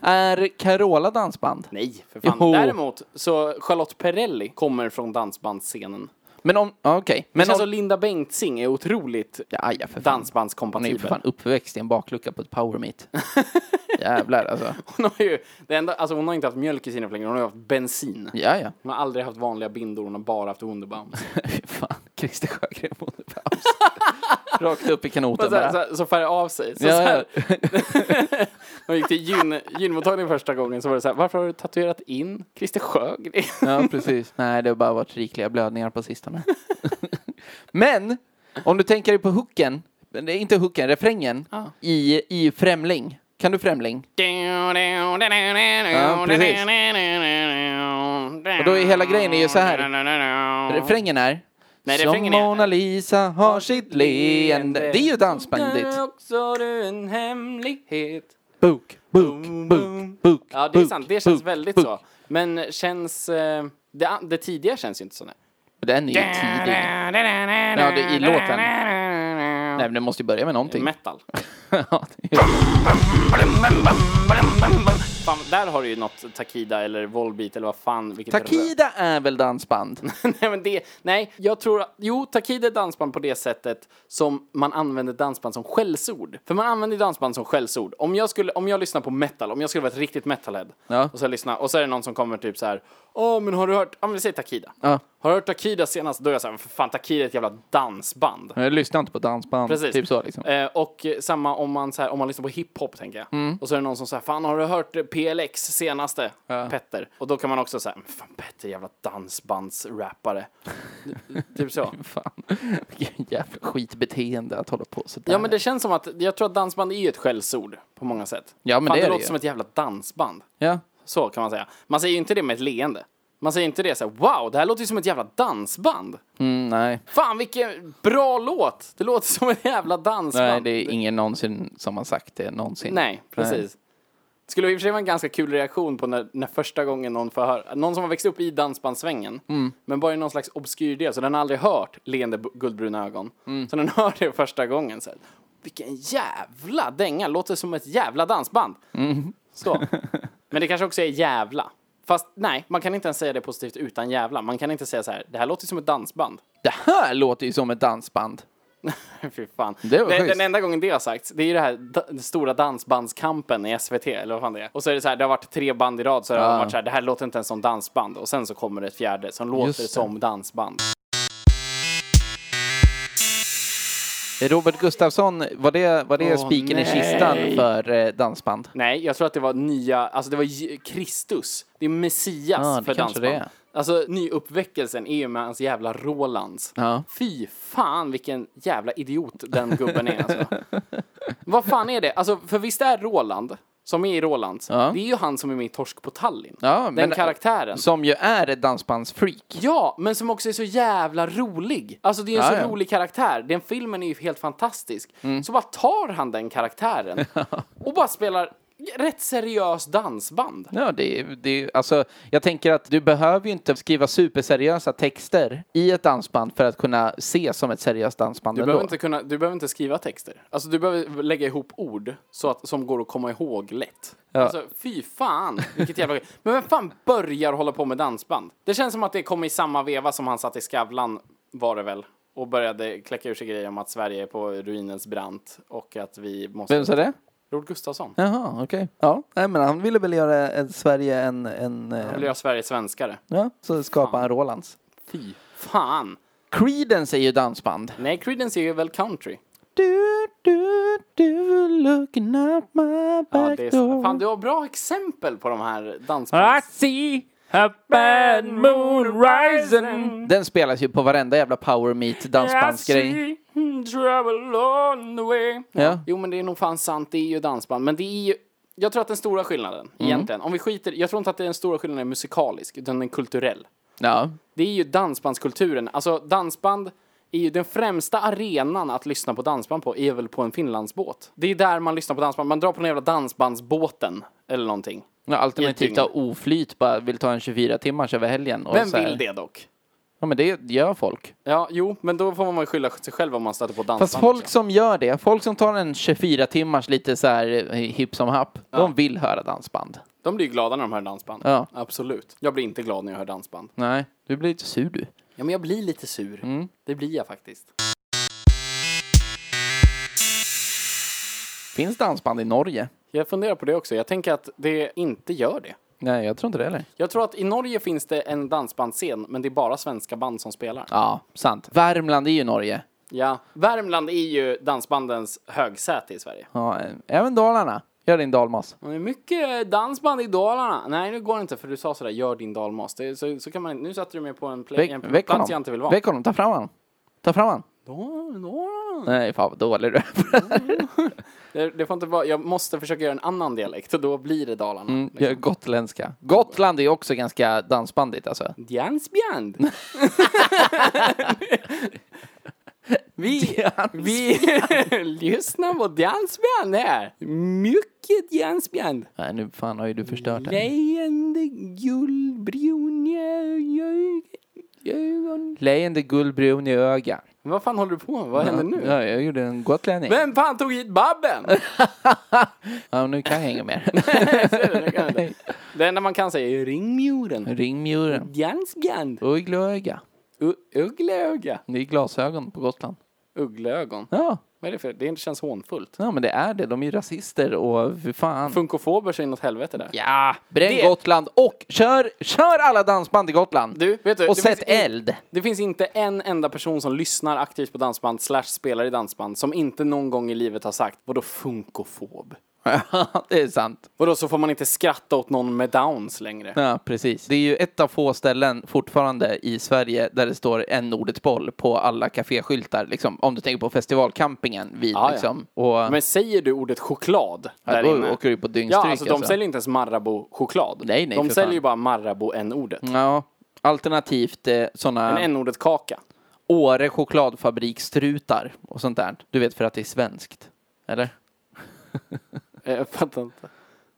[SPEAKER 2] är Carola dansband?
[SPEAKER 1] Nej, för fan.
[SPEAKER 2] Jo.
[SPEAKER 1] Däremot så Charlotte Perrelli kommer från dansbandsscenen.
[SPEAKER 2] Men om, ja, okej.
[SPEAKER 1] Men
[SPEAKER 2] Men
[SPEAKER 1] alltså
[SPEAKER 2] om,
[SPEAKER 1] Linda Bengtzing är otroligt
[SPEAKER 2] ja, ja, för fan. Hon är ju
[SPEAKER 1] dansbandskompatibel.
[SPEAKER 2] för fan uppväxt i en baklucka på ett power meet. Jävlar alltså.
[SPEAKER 1] Hon har ju, det enda, alltså hon har inte haft mjölk i sina längre, hon har haft bensin.
[SPEAKER 2] Ja, ja.
[SPEAKER 1] Hon har aldrig haft vanliga bindor, hon har bara haft Wunderbaum.
[SPEAKER 2] Fy fan, Christer Sjögren under paus. Rakt upp i kanoten
[SPEAKER 1] Så, här, så,
[SPEAKER 2] bara.
[SPEAKER 1] här, så färgar av sig. Så,
[SPEAKER 2] Ja,
[SPEAKER 1] så här, Hon gick till gyn, gynmottagningen första gången så var det så här, varför har du tatuerat in Christer Sjögren?
[SPEAKER 2] Ja, precis. Nej, det har bara varit rikliga blödningar på sistone. Men, om du tänker dig på hooken, men det är inte hooken, refrängen, i, i Främling. Kan du Främling?
[SPEAKER 1] Ja,
[SPEAKER 2] precis. Och då är hela grejen är ju så här. Refrängen är...
[SPEAKER 1] Nej,
[SPEAKER 2] Som
[SPEAKER 1] refrängen är-
[SPEAKER 2] Mona Lisa har sitt leende. Det är ju dansbandigt.
[SPEAKER 1] Där också du en hemlighet.
[SPEAKER 2] Bok, bok,
[SPEAKER 1] boom.
[SPEAKER 2] bok, bok.
[SPEAKER 1] Ja, det är
[SPEAKER 2] bok,
[SPEAKER 1] sant. Det känns
[SPEAKER 2] bok,
[SPEAKER 1] väldigt
[SPEAKER 2] bok.
[SPEAKER 1] så. Men känns... eh, Det, an- det tidiga känns ju inte så. Nej.
[SPEAKER 2] Den är ju tidig. Ja, det är i låten. Nej, men den måste ju börja med någonting.
[SPEAKER 1] Metal.
[SPEAKER 2] Ja, det är-
[SPEAKER 1] Fan, där har du ju något Takida eller Volbeat eller vad fan. Vilket
[SPEAKER 2] Takida är väl dansband?
[SPEAKER 1] nej, men det, nej, jag tror att, jo, Takida är dansband på det sättet som man använder dansband som skällsord. För man använder ju dansband som skällsord. Om jag skulle, om jag lyssnar på metal, om jag skulle vara ett riktigt metalhead
[SPEAKER 2] Ja.
[SPEAKER 1] och så lyssna, och så är det någon som kommer typ så här, åh, men har du hört, ja men vi säger Takida.
[SPEAKER 2] Ja.
[SPEAKER 1] Har du hört Takida senast? Då är jag så här, för fan, Takida är ett jävla dansband.
[SPEAKER 2] Jag lyssnar inte på dansband.
[SPEAKER 1] Precis.
[SPEAKER 2] Typ så liksom.
[SPEAKER 1] Eh, och eh, samma om man, så här, om man lyssnar på hiphop, tänker jag.
[SPEAKER 2] Mm.
[SPEAKER 1] Och så är det någon som säger, fan har du hört eh, PLX senaste? Petter. Och då kan man också säga, fan Petter jävla dansbandsrappare. typ så.
[SPEAKER 2] Fan, vilket jävla skitbeteende att hålla på sådär.
[SPEAKER 1] Ja men det känns som att, jag tror att dansband är ju ett skällsord på många sätt.
[SPEAKER 2] Ja, men
[SPEAKER 1] fan,
[SPEAKER 2] det är det
[SPEAKER 1] låter
[SPEAKER 2] ju.
[SPEAKER 1] som ett jävla dansband.
[SPEAKER 2] Ja.
[SPEAKER 1] Så kan man säga. Man säger ju inte det med ett leende. Man säger inte det så här, wow, det här låter ju som ett jävla dansband.
[SPEAKER 2] Mm, nej.
[SPEAKER 1] Fan vilken bra låt! Det låter som ett jävla dansband.
[SPEAKER 2] nej, det är ingen någonsin som har sagt det någonsin.
[SPEAKER 1] Nej, precis. Skulle i och för sig vara en ganska kul reaktion på när, när första gången någon får höra, någon som har växt upp i dansbandssvängen, men bara i någon slags obskyr del, så den har aldrig hört leende bu- guldbruna ögon. Så den hör det första gången så här, vilken jävla dänga, låter som ett jävla dansband. Så. Men det kanske också är jävla. Fast nej, man kan inte ens säga det positivt utan jävla. Man kan inte säga så här, det här låter som ett dansband.
[SPEAKER 2] Det här låter ju som ett dansband.
[SPEAKER 1] Fy fan.
[SPEAKER 2] Det var
[SPEAKER 1] den,
[SPEAKER 2] schysst.
[SPEAKER 1] den enda gången det har sagts, det är ju det här da, den stora dansbandskampen i SVT, eller vad fan det är. Och så är det så här, det har varit tre band i rad, så
[SPEAKER 2] Ah.
[SPEAKER 1] har det varit så här, det här låter inte ens som dansband. Och sen så kommer det ett fjärde som låter
[SPEAKER 2] Just det.
[SPEAKER 1] som dansband.
[SPEAKER 2] Robert Gustafsson, var det, var det
[SPEAKER 1] Åh,
[SPEAKER 2] spiken i
[SPEAKER 1] nej.
[SPEAKER 2] kistan för eh, dansband?
[SPEAKER 1] Nej, jag tror att det var nya, alltså det var J- Kristus. Det är Messias
[SPEAKER 2] Ja, det
[SPEAKER 1] för
[SPEAKER 2] kanske
[SPEAKER 1] dansband.
[SPEAKER 2] det är.
[SPEAKER 1] Alltså nyuppväckelsen är ju med hans jävla Rolands.
[SPEAKER 2] Ja.
[SPEAKER 1] Fy fan vilken jävla idiot den gubben är alltså. Vad fan är det? Alltså, för visst är Roland, som är i Rolands,
[SPEAKER 2] Ja.
[SPEAKER 1] det är ju han som är med i Torsk på Tallinn.
[SPEAKER 2] Ja,
[SPEAKER 1] den
[SPEAKER 2] men-
[SPEAKER 1] karaktären.
[SPEAKER 2] Som ju är ett dansbandsfreak.
[SPEAKER 1] Ja, men som också är så jävla rolig. Alltså det är en
[SPEAKER 2] Ja,
[SPEAKER 1] så
[SPEAKER 2] ja. Mm.
[SPEAKER 1] rolig karaktär. Den filmen är ju helt fantastisk. Så bara tar han den karaktären och bara spelar rätt seriös dansband.
[SPEAKER 2] Ja, det, är- det, är- alltså, jag tänker att du behöver ju inte skriva superseriösa texter i ett dansband för att kunna se som ett seriöst dansband
[SPEAKER 1] Du
[SPEAKER 2] ändå.
[SPEAKER 1] behöver, inte kunna, du behöver inte skriva texter. Alltså du behöver lägga ihop ord så att, som går att komma ihåg lätt. Alltså fy fan, vilket jävla... Men vem fan börjar hålla på med dansband? Det känns som att det kom i samma veva som han satt i Skavlan, var det väl? Och började kläcka ur sig grejer om att Sverige är på ruinens brant och att vi måste...
[SPEAKER 2] Vem sa det?
[SPEAKER 1] Robert Gustafsson.
[SPEAKER 2] Jaha, okej. Ja, nej, men han ville väl göra ett Sverige en... en eh,
[SPEAKER 1] Han vill göra Sverige svenskare.
[SPEAKER 2] ja, så skapade han Rolands.
[SPEAKER 1] Fy fan.
[SPEAKER 2] Creedence är ju dansband.
[SPEAKER 1] Nej, Creedence är ju väl country.
[SPEAKER 2] Du, du, du, looking out my
[SPEAKER 1] Ja,
[SPEAKER 2] back
[SPEAKER 1] det är så.
[SPEAKER 2] door.
[SPEAKER 1] Fan, du har bra exempel på de här
[SPEAKER 5] I
[SPEAKER 1] dansbands...
[SPEAKER 5] see a bad moon rising.
[SPEAKER 2] Den spelas ju på varenda jävla power meet
[SPEAKER 5] I
[SPEAKER 2] dansbandsgrej.
[SPEAKER 5] see trouble on the way.
[SPEAKER 2] Ja.
[SPEAKER 1] Jo, men det är nog fan sant. Det är ju dansband. Men det är ju... Jag tror att den stora skillnaden,
[SPEAKER 2] Mm.
[SPEAKER 1] egentligen, om vi skiter... Jag tror inte att den stora skillnaden är musikalisk, utan den är kulturell.
[SPEAKER 2] ja.
[SPEAKER 1] Det är ju dansbandskulturen. Alltså, dansband är ju den främsta arenan att lyssna på dansband på, är väl på en Finlandsbåt. Det är där man lyssnar på dansband. Man drar på den jävla dansbandsbåten, eller någonting.
[SPEAKER 2] Ja, alternativt
[SPEAKER 1] dygn.
[SPEAKER 2] ha oflyt, bara vill ta en 24 timmars över helgen. Och
[SPEAKER 1] Vem
[SPEAKER 2] så här-
[SPEAKER 1] vill det dock?
[SPEAKER 2] Ja, men det gör folk.
[SPEAKER 1] Ja, jo, men då får man ju skylla sig själv om man stöter på dansband.
[SPEAKER 2] Fast
[SPEAKER 1] liksom.
[SPEAKER 2] folk
[SPEAKER 1] också.
[SPEAKER 2] som gör det, folk som tar en 24 timmars lite så här eh, hipp som happ, de vill höra dansband.
[SPEAKER 1] De blir ju glada när de hör dansband.
[SPEAKER 2] Ja.
[SPEAKER 1] Absolut. Jag blir inte glad när jag hör dansband.
[SPEAKER 2] Nej, du blir lite sur du.
[SPEAKER 1] Ja, men jag blir lite sur.
[SPEAKER 2] Mm.
[SPEAKER 1] Det blir jag faktiskt.
[SPEAKER 2] Finns dansband i Norge?
[SPEAKER 1] Jag funderar på det också. Jag tänker att det inte gör det.
[SPEAKER 2] Nej, jag tror inte det heller.
[SPEAKER 1] Jag tror att i Norge finns det en dansbandsscen, men det är bara svenska band som spelar.
[SPEAKER 2] Ja, sant. Värmland är ju Norge.
[SPEAKER 1] Ja. Värmland är ju dansbandens högsäte i Sverige.
[SPEAKER 2] Ja, eh, även Dalarna. Gör din dalmas.
[SPEAKER 1] Det är mycket dansband i Dalarna. Nej, nu går det inte för du sa sådär, gör din dalmas. Det, är- så, så kan man Nu satte du mig på en, play,
[SPEAKER 2] Väck,
[SPEAKER 1] en
[SPEAKER 2] väck
[SPEAKER 1] plats jag
[SPEAKER 2] honom.
[SPEAKER 1] inte vill vara.
[SPEAKER 2] Väck honom, ta fram honom. Ta fram honom.
[SPEAKER 1] Dal- Dalarna.
[SPEAKER 2] Nej, fan vad dålig du är.
[SPEAKER 1] Det, det får inte vara, jag måste försöka göra en annan dialekt och då blir det Dalarna.
[SPEAKER 2] Mm, jag är gotländska. Gotland är ju också ganska dansbandigt alltså.
[SPEAKER 1] Dansband! vi, vi lyssnar på dansband här. Mycket dansband.
[SPEAKER 2] Nej, nu fan har ju du förstört det.
[SPEAKER 1] Leende guldbruna ö- ögon.
[SPEAKER 2] Leende guldbrun i öga.
[SPEAKER 1] Vad fan håller du på med? Vad händer nu?
[SPEAKER 2] Ja, jag gjorde en gotlänning.
[SPEAKER 1] Vem fan tog hit Babben?
[SPEAKER 2] Ja, nu kan jag inget mer.
[SPEAKER 1] det enda man kan säga är ringmuren.
[SPEAKER 2] Ring muren.
[SPEAKER 1] Dansband.
[SPEAKER 2] Uggleöga.
[SPEAKER 1] U- Uggleöga.
[SPEAKER 2] Det är glasögon på Gotland.
[SPEAKER 1] Uggleögon.
[SPEAKER 2] Ja,
[SPEAKER 1] Vad är det för? Det känns hånfullt.
[SPEAKER 2] ja men det är det. De är ju rasister och för fan.
[SPEAKER 1] Funkofober så inåt helvete där.
[SPEAKER 2] Ja, bränn
[SPEAKER 1] Det-
[SPEAKER 2] Gotland och kör, kör alla dansband i Gotland.
[SPEAKER 1] Du, vet du,
[SPEAKER 2] och
[SPEAKER 1] det
[SPEAKER 2] sätt
[SPEAKER 1] finns in-
[SPEAKER 2] eld.
[SPEAKER 1] Det finns inte en enda person som lyssnar aktivt på dansband slash spelar i dansband som inte någon gång i livet har sagt vadå funkofob?
[SPEAKER 2] det är sant.
[SPEAKER 1] Vadå så får man inte skratta åt någon med downs längre?
[SPEAKER 2] Ja, precis. Det är ju ett av få ställen fortfarande i Sverige där det står en ordets boll på alla kaféskyltar. Liksom, om du tänker på festivalcampingen vid
[SPEAKER 1] Ja, ja.
[SPEAKER 2] liksom. Och,
[SPEAKER 1] Men säger du ordet choklad
[SPEAKER 2] ja,
[SPEAKER 1] där
[SPEAKER 2] då
[SPEAKER 1] inne?
[SPEAKER 2] åker du på
[SPEAKER 1] Ja,
[SPEAKER 2] dyngstryk.
[SPEAKER 1] alltså de säljer inte ens Marabou-choklad.
[SPEAKER 2] Nej, nej,
[SPEAKER 1] de
[SPEAKER 2] för
[SPEAKER 1] säljer
[SPEAKER 2] fan.
[SPEAKER 1] ju bara Marabou-n-ordet.
[SPEAKER 2] Ja, alternativt eh,
[SPEAKER 1] En
[SPEAKER 2] sådana
[SPEAKER 1] n-ordet kaka.
[SPEAKER 2] Åre chokladfabrikstrutar och sånt där. Du vet för att det är svenskt. Eller?
[SPEAKER 1] Eh, Jag fattar inte.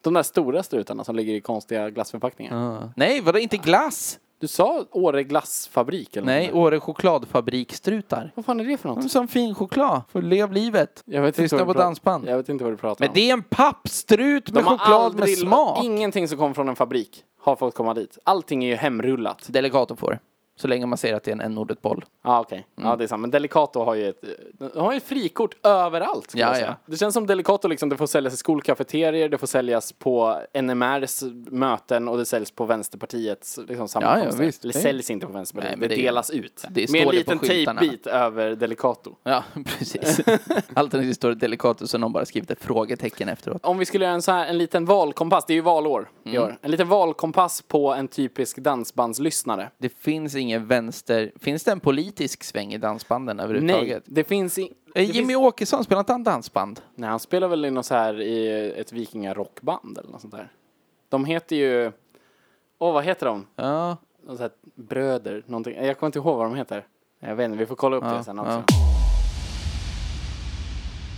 [SPEAKER 1] De där stora strutarna som ligger i konstiga glassförpackningar.
[SPEAKER 2] Nej, vadå inte glass?
[SPEAKER 1] Du sa Åre glassfabrik eller
[SPEAKER 2] Nej,
[SPEAKER 1] något?
[SPEAKER 2] Åre chokladfabrikstrutar.
[SPEAKER 1] Vad fan är det för något?
[SPEAKER 2] Mm, Som fin choklad. Får lev livet.
[SPEAKER 1] Jag vet
[SPEAKER 2] Lyssna
[SPEAKER 1] vad du
[SPEAKER 2] på
[SPEAKER 1] pra-
[SPEAKER 2] dansband.
[SPEAKER 1] Jag vet inte vad du pratar
[SPEAKER 2] Men
[SPEAKER 1] om.
[SPEAKER 2] det är en pappstrut med choklad med smak.
[SPEAKER 1] Ingenting som kommer från en fabrik har fått komma dit. Allting är ju hemrullat.
[SPEAKER 2] Delegato får. Så länge man säger att det är en n-ordet boll.
[SPEAKER 1] Ja, okej.
[SPEAKER 2] Mm.
[SPEAKER 1] Ja, det är sant. Men Delicato har ju ett, de har ju ett frikort överallt. skulle
[SPEAKER 2] Ja,
[SPEAKER 1] jag säga.
[SPEAKER 2] ja.
[SPEAKER 1] Det känns som Delicato liksom, det får säljas i skolkafeterier, det får säljas på NMRs möten och det säljs på Vänsterpartiets liksom, sammankomster.
[SPEAKER 2] Ja, ja, visst.
[SPEAKER 1] Eller
[SPEAKER 2] Det-
[SPEAKER 1] säljs inte på Vänsterpartiet,
[SPEAKER 2] Nej, men
[SPEAKER 1] det,
[SPEAKER 2] det-
[SPEAKER 1] delas ut.
[SPEAKER 2] det står
[SPEAKER 1] med
[SPEAKER 2] det
[SPEAKER 1] en
[SPEAKER 2] på
[SPEAKER 1] liten
[SPEAKER 2] skyltarna.
[SPEAKER 1] tejpbit över Delicato.
[SPEAKER 2] Ja, precis. Alternativt står det Delicato så någon bara skrivit ett frågetecken efteråt.
[SPEAKER 1] Om vi skulle göra en, så här, en liten valkompass, det är ju valår i
[SPEAKER 2] Mm.
[SPEAKER 1] år. En liten valkompass på en typisk dansbandslyssnare.
[SPEAKER 2] Det finns ingen vänster... Finns det en politisk sväng i dansbanden
[SPEAKER 1] Nej,
[SPEAKER 2] överhuvudtaget?
[SPEAKER 1] det finns i...
[SPEAKER 2] Nej. Jimmy Åkesson, spelar inte han dansband?
[SPEAKER 1] Nej, han spelar väl i något så här i ett vikingarockband eller något sånt där. De heter ju... Åh, vad heter de?
[SPEAKER 2] Ja.
[SPEAKER 1] Något så här bröder, någonting. Jag kommer inte ihåg vad de heter. Jag vet inte, vi får kolla upp det sen också.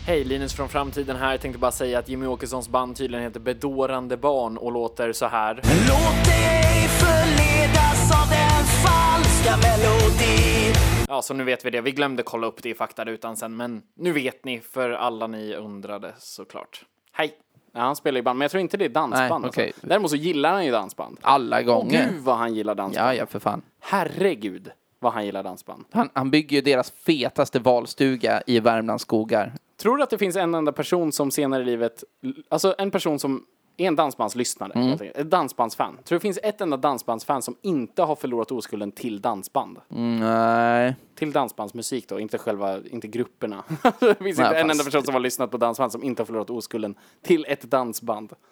[SPEAKER 5] Hej, Linus från framtiden här. Jag tänkte bara säga att Jimmy Åkessons band tydligen heter Bedårande barn och låter så här.
[SPEAKER 6] Låt dig förledas av den falska melodin
[SPEAKER 5] Ja, så nu vet vi det. Vi glömde kolla upp det i faktarutan sen, men nu vet ni för alla ni undrade såklart. Hej!
[SPEAKER 1] Ja, han spelar i band, men jag tror inte det är dansband.
[SPEAKER 2] Nej, okej.
[SPEAKER 1] alltså. Däremot så gillar han ju dansband.
[SPEAKER 2] Alla
[SPEAKER 1] Åh
[SPEAKER 2] gånger.
[SPEAKER 1] gud vad han gillar dansband.
[SPEAKER 2] ja, ja, för fan.
[SPEAKER 1] Herregud vad han gillar dansband.
[SPEAKER 2] Han, han bygger ju deras fetaste valstuga i Värmlands skogar.
[SPEAKER 1] Tror du att det finns en enda person som senare i livet, alltså en person som är en dansbandslyssnare, helt enkelt, ett dansbandsfan. Tror du det finns ett enda dansbandsfan som inte har förlorat oskulden till dansband?
[SPEAKER 2] Mm, Nej.
[SPEAKER 1] Till dansbandsmusik då, inte själva, inte grupperna. det finns inte en
[SPEAKER 2] fast-
[SPEAKER 1] enda person som har lyssnat på dansband som inte har förlorat oskulden till ett dansband.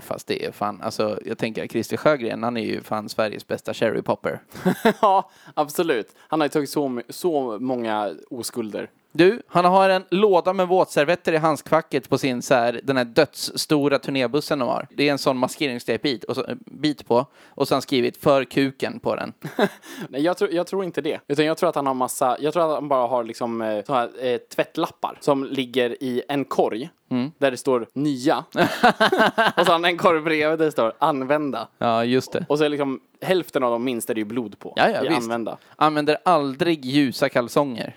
[SPEAKER 2] Fast det är fan, alltså jag tänker Christer Sjögren, han är ju fan Sveriges bästa cherry popper.
[SPEAKER 1] ja, absolut. Han har ju tagit så, my- så många oskulder.
[SPEAKER 2] Du, han har en låda med våtservetter i handskfacket på sin så här, den här dödsstora turnébussen de har. Det är en sån maskeringstejpbit och så, eh, bit på. Och så har han skrivit för kuken på den.
[SPEAKER 1] Nej, jag, tror, jag tror inte det. Utan jag tror att han har massa, jag tror att han bara har liksom eh, så här, eh, tvättlappar som ligger i en korg
[SPEAKER 2] Mm.
[SPEAKER 1] där det står nya. och så har han en korg bredvid där det står använda.
[SPEAKER 2] Ja, just det.
[SPEAKER 1] Och så är liksom hälften av dem minst är det ju blod på.
[SPEAKER 2] Ja, ja,
[SPEAKER 1] i
[SPEAKER 2] visst.
[SPEAKER 1] använda.
[SPEAKER 2] Använder aldrig ljusa kalsonger.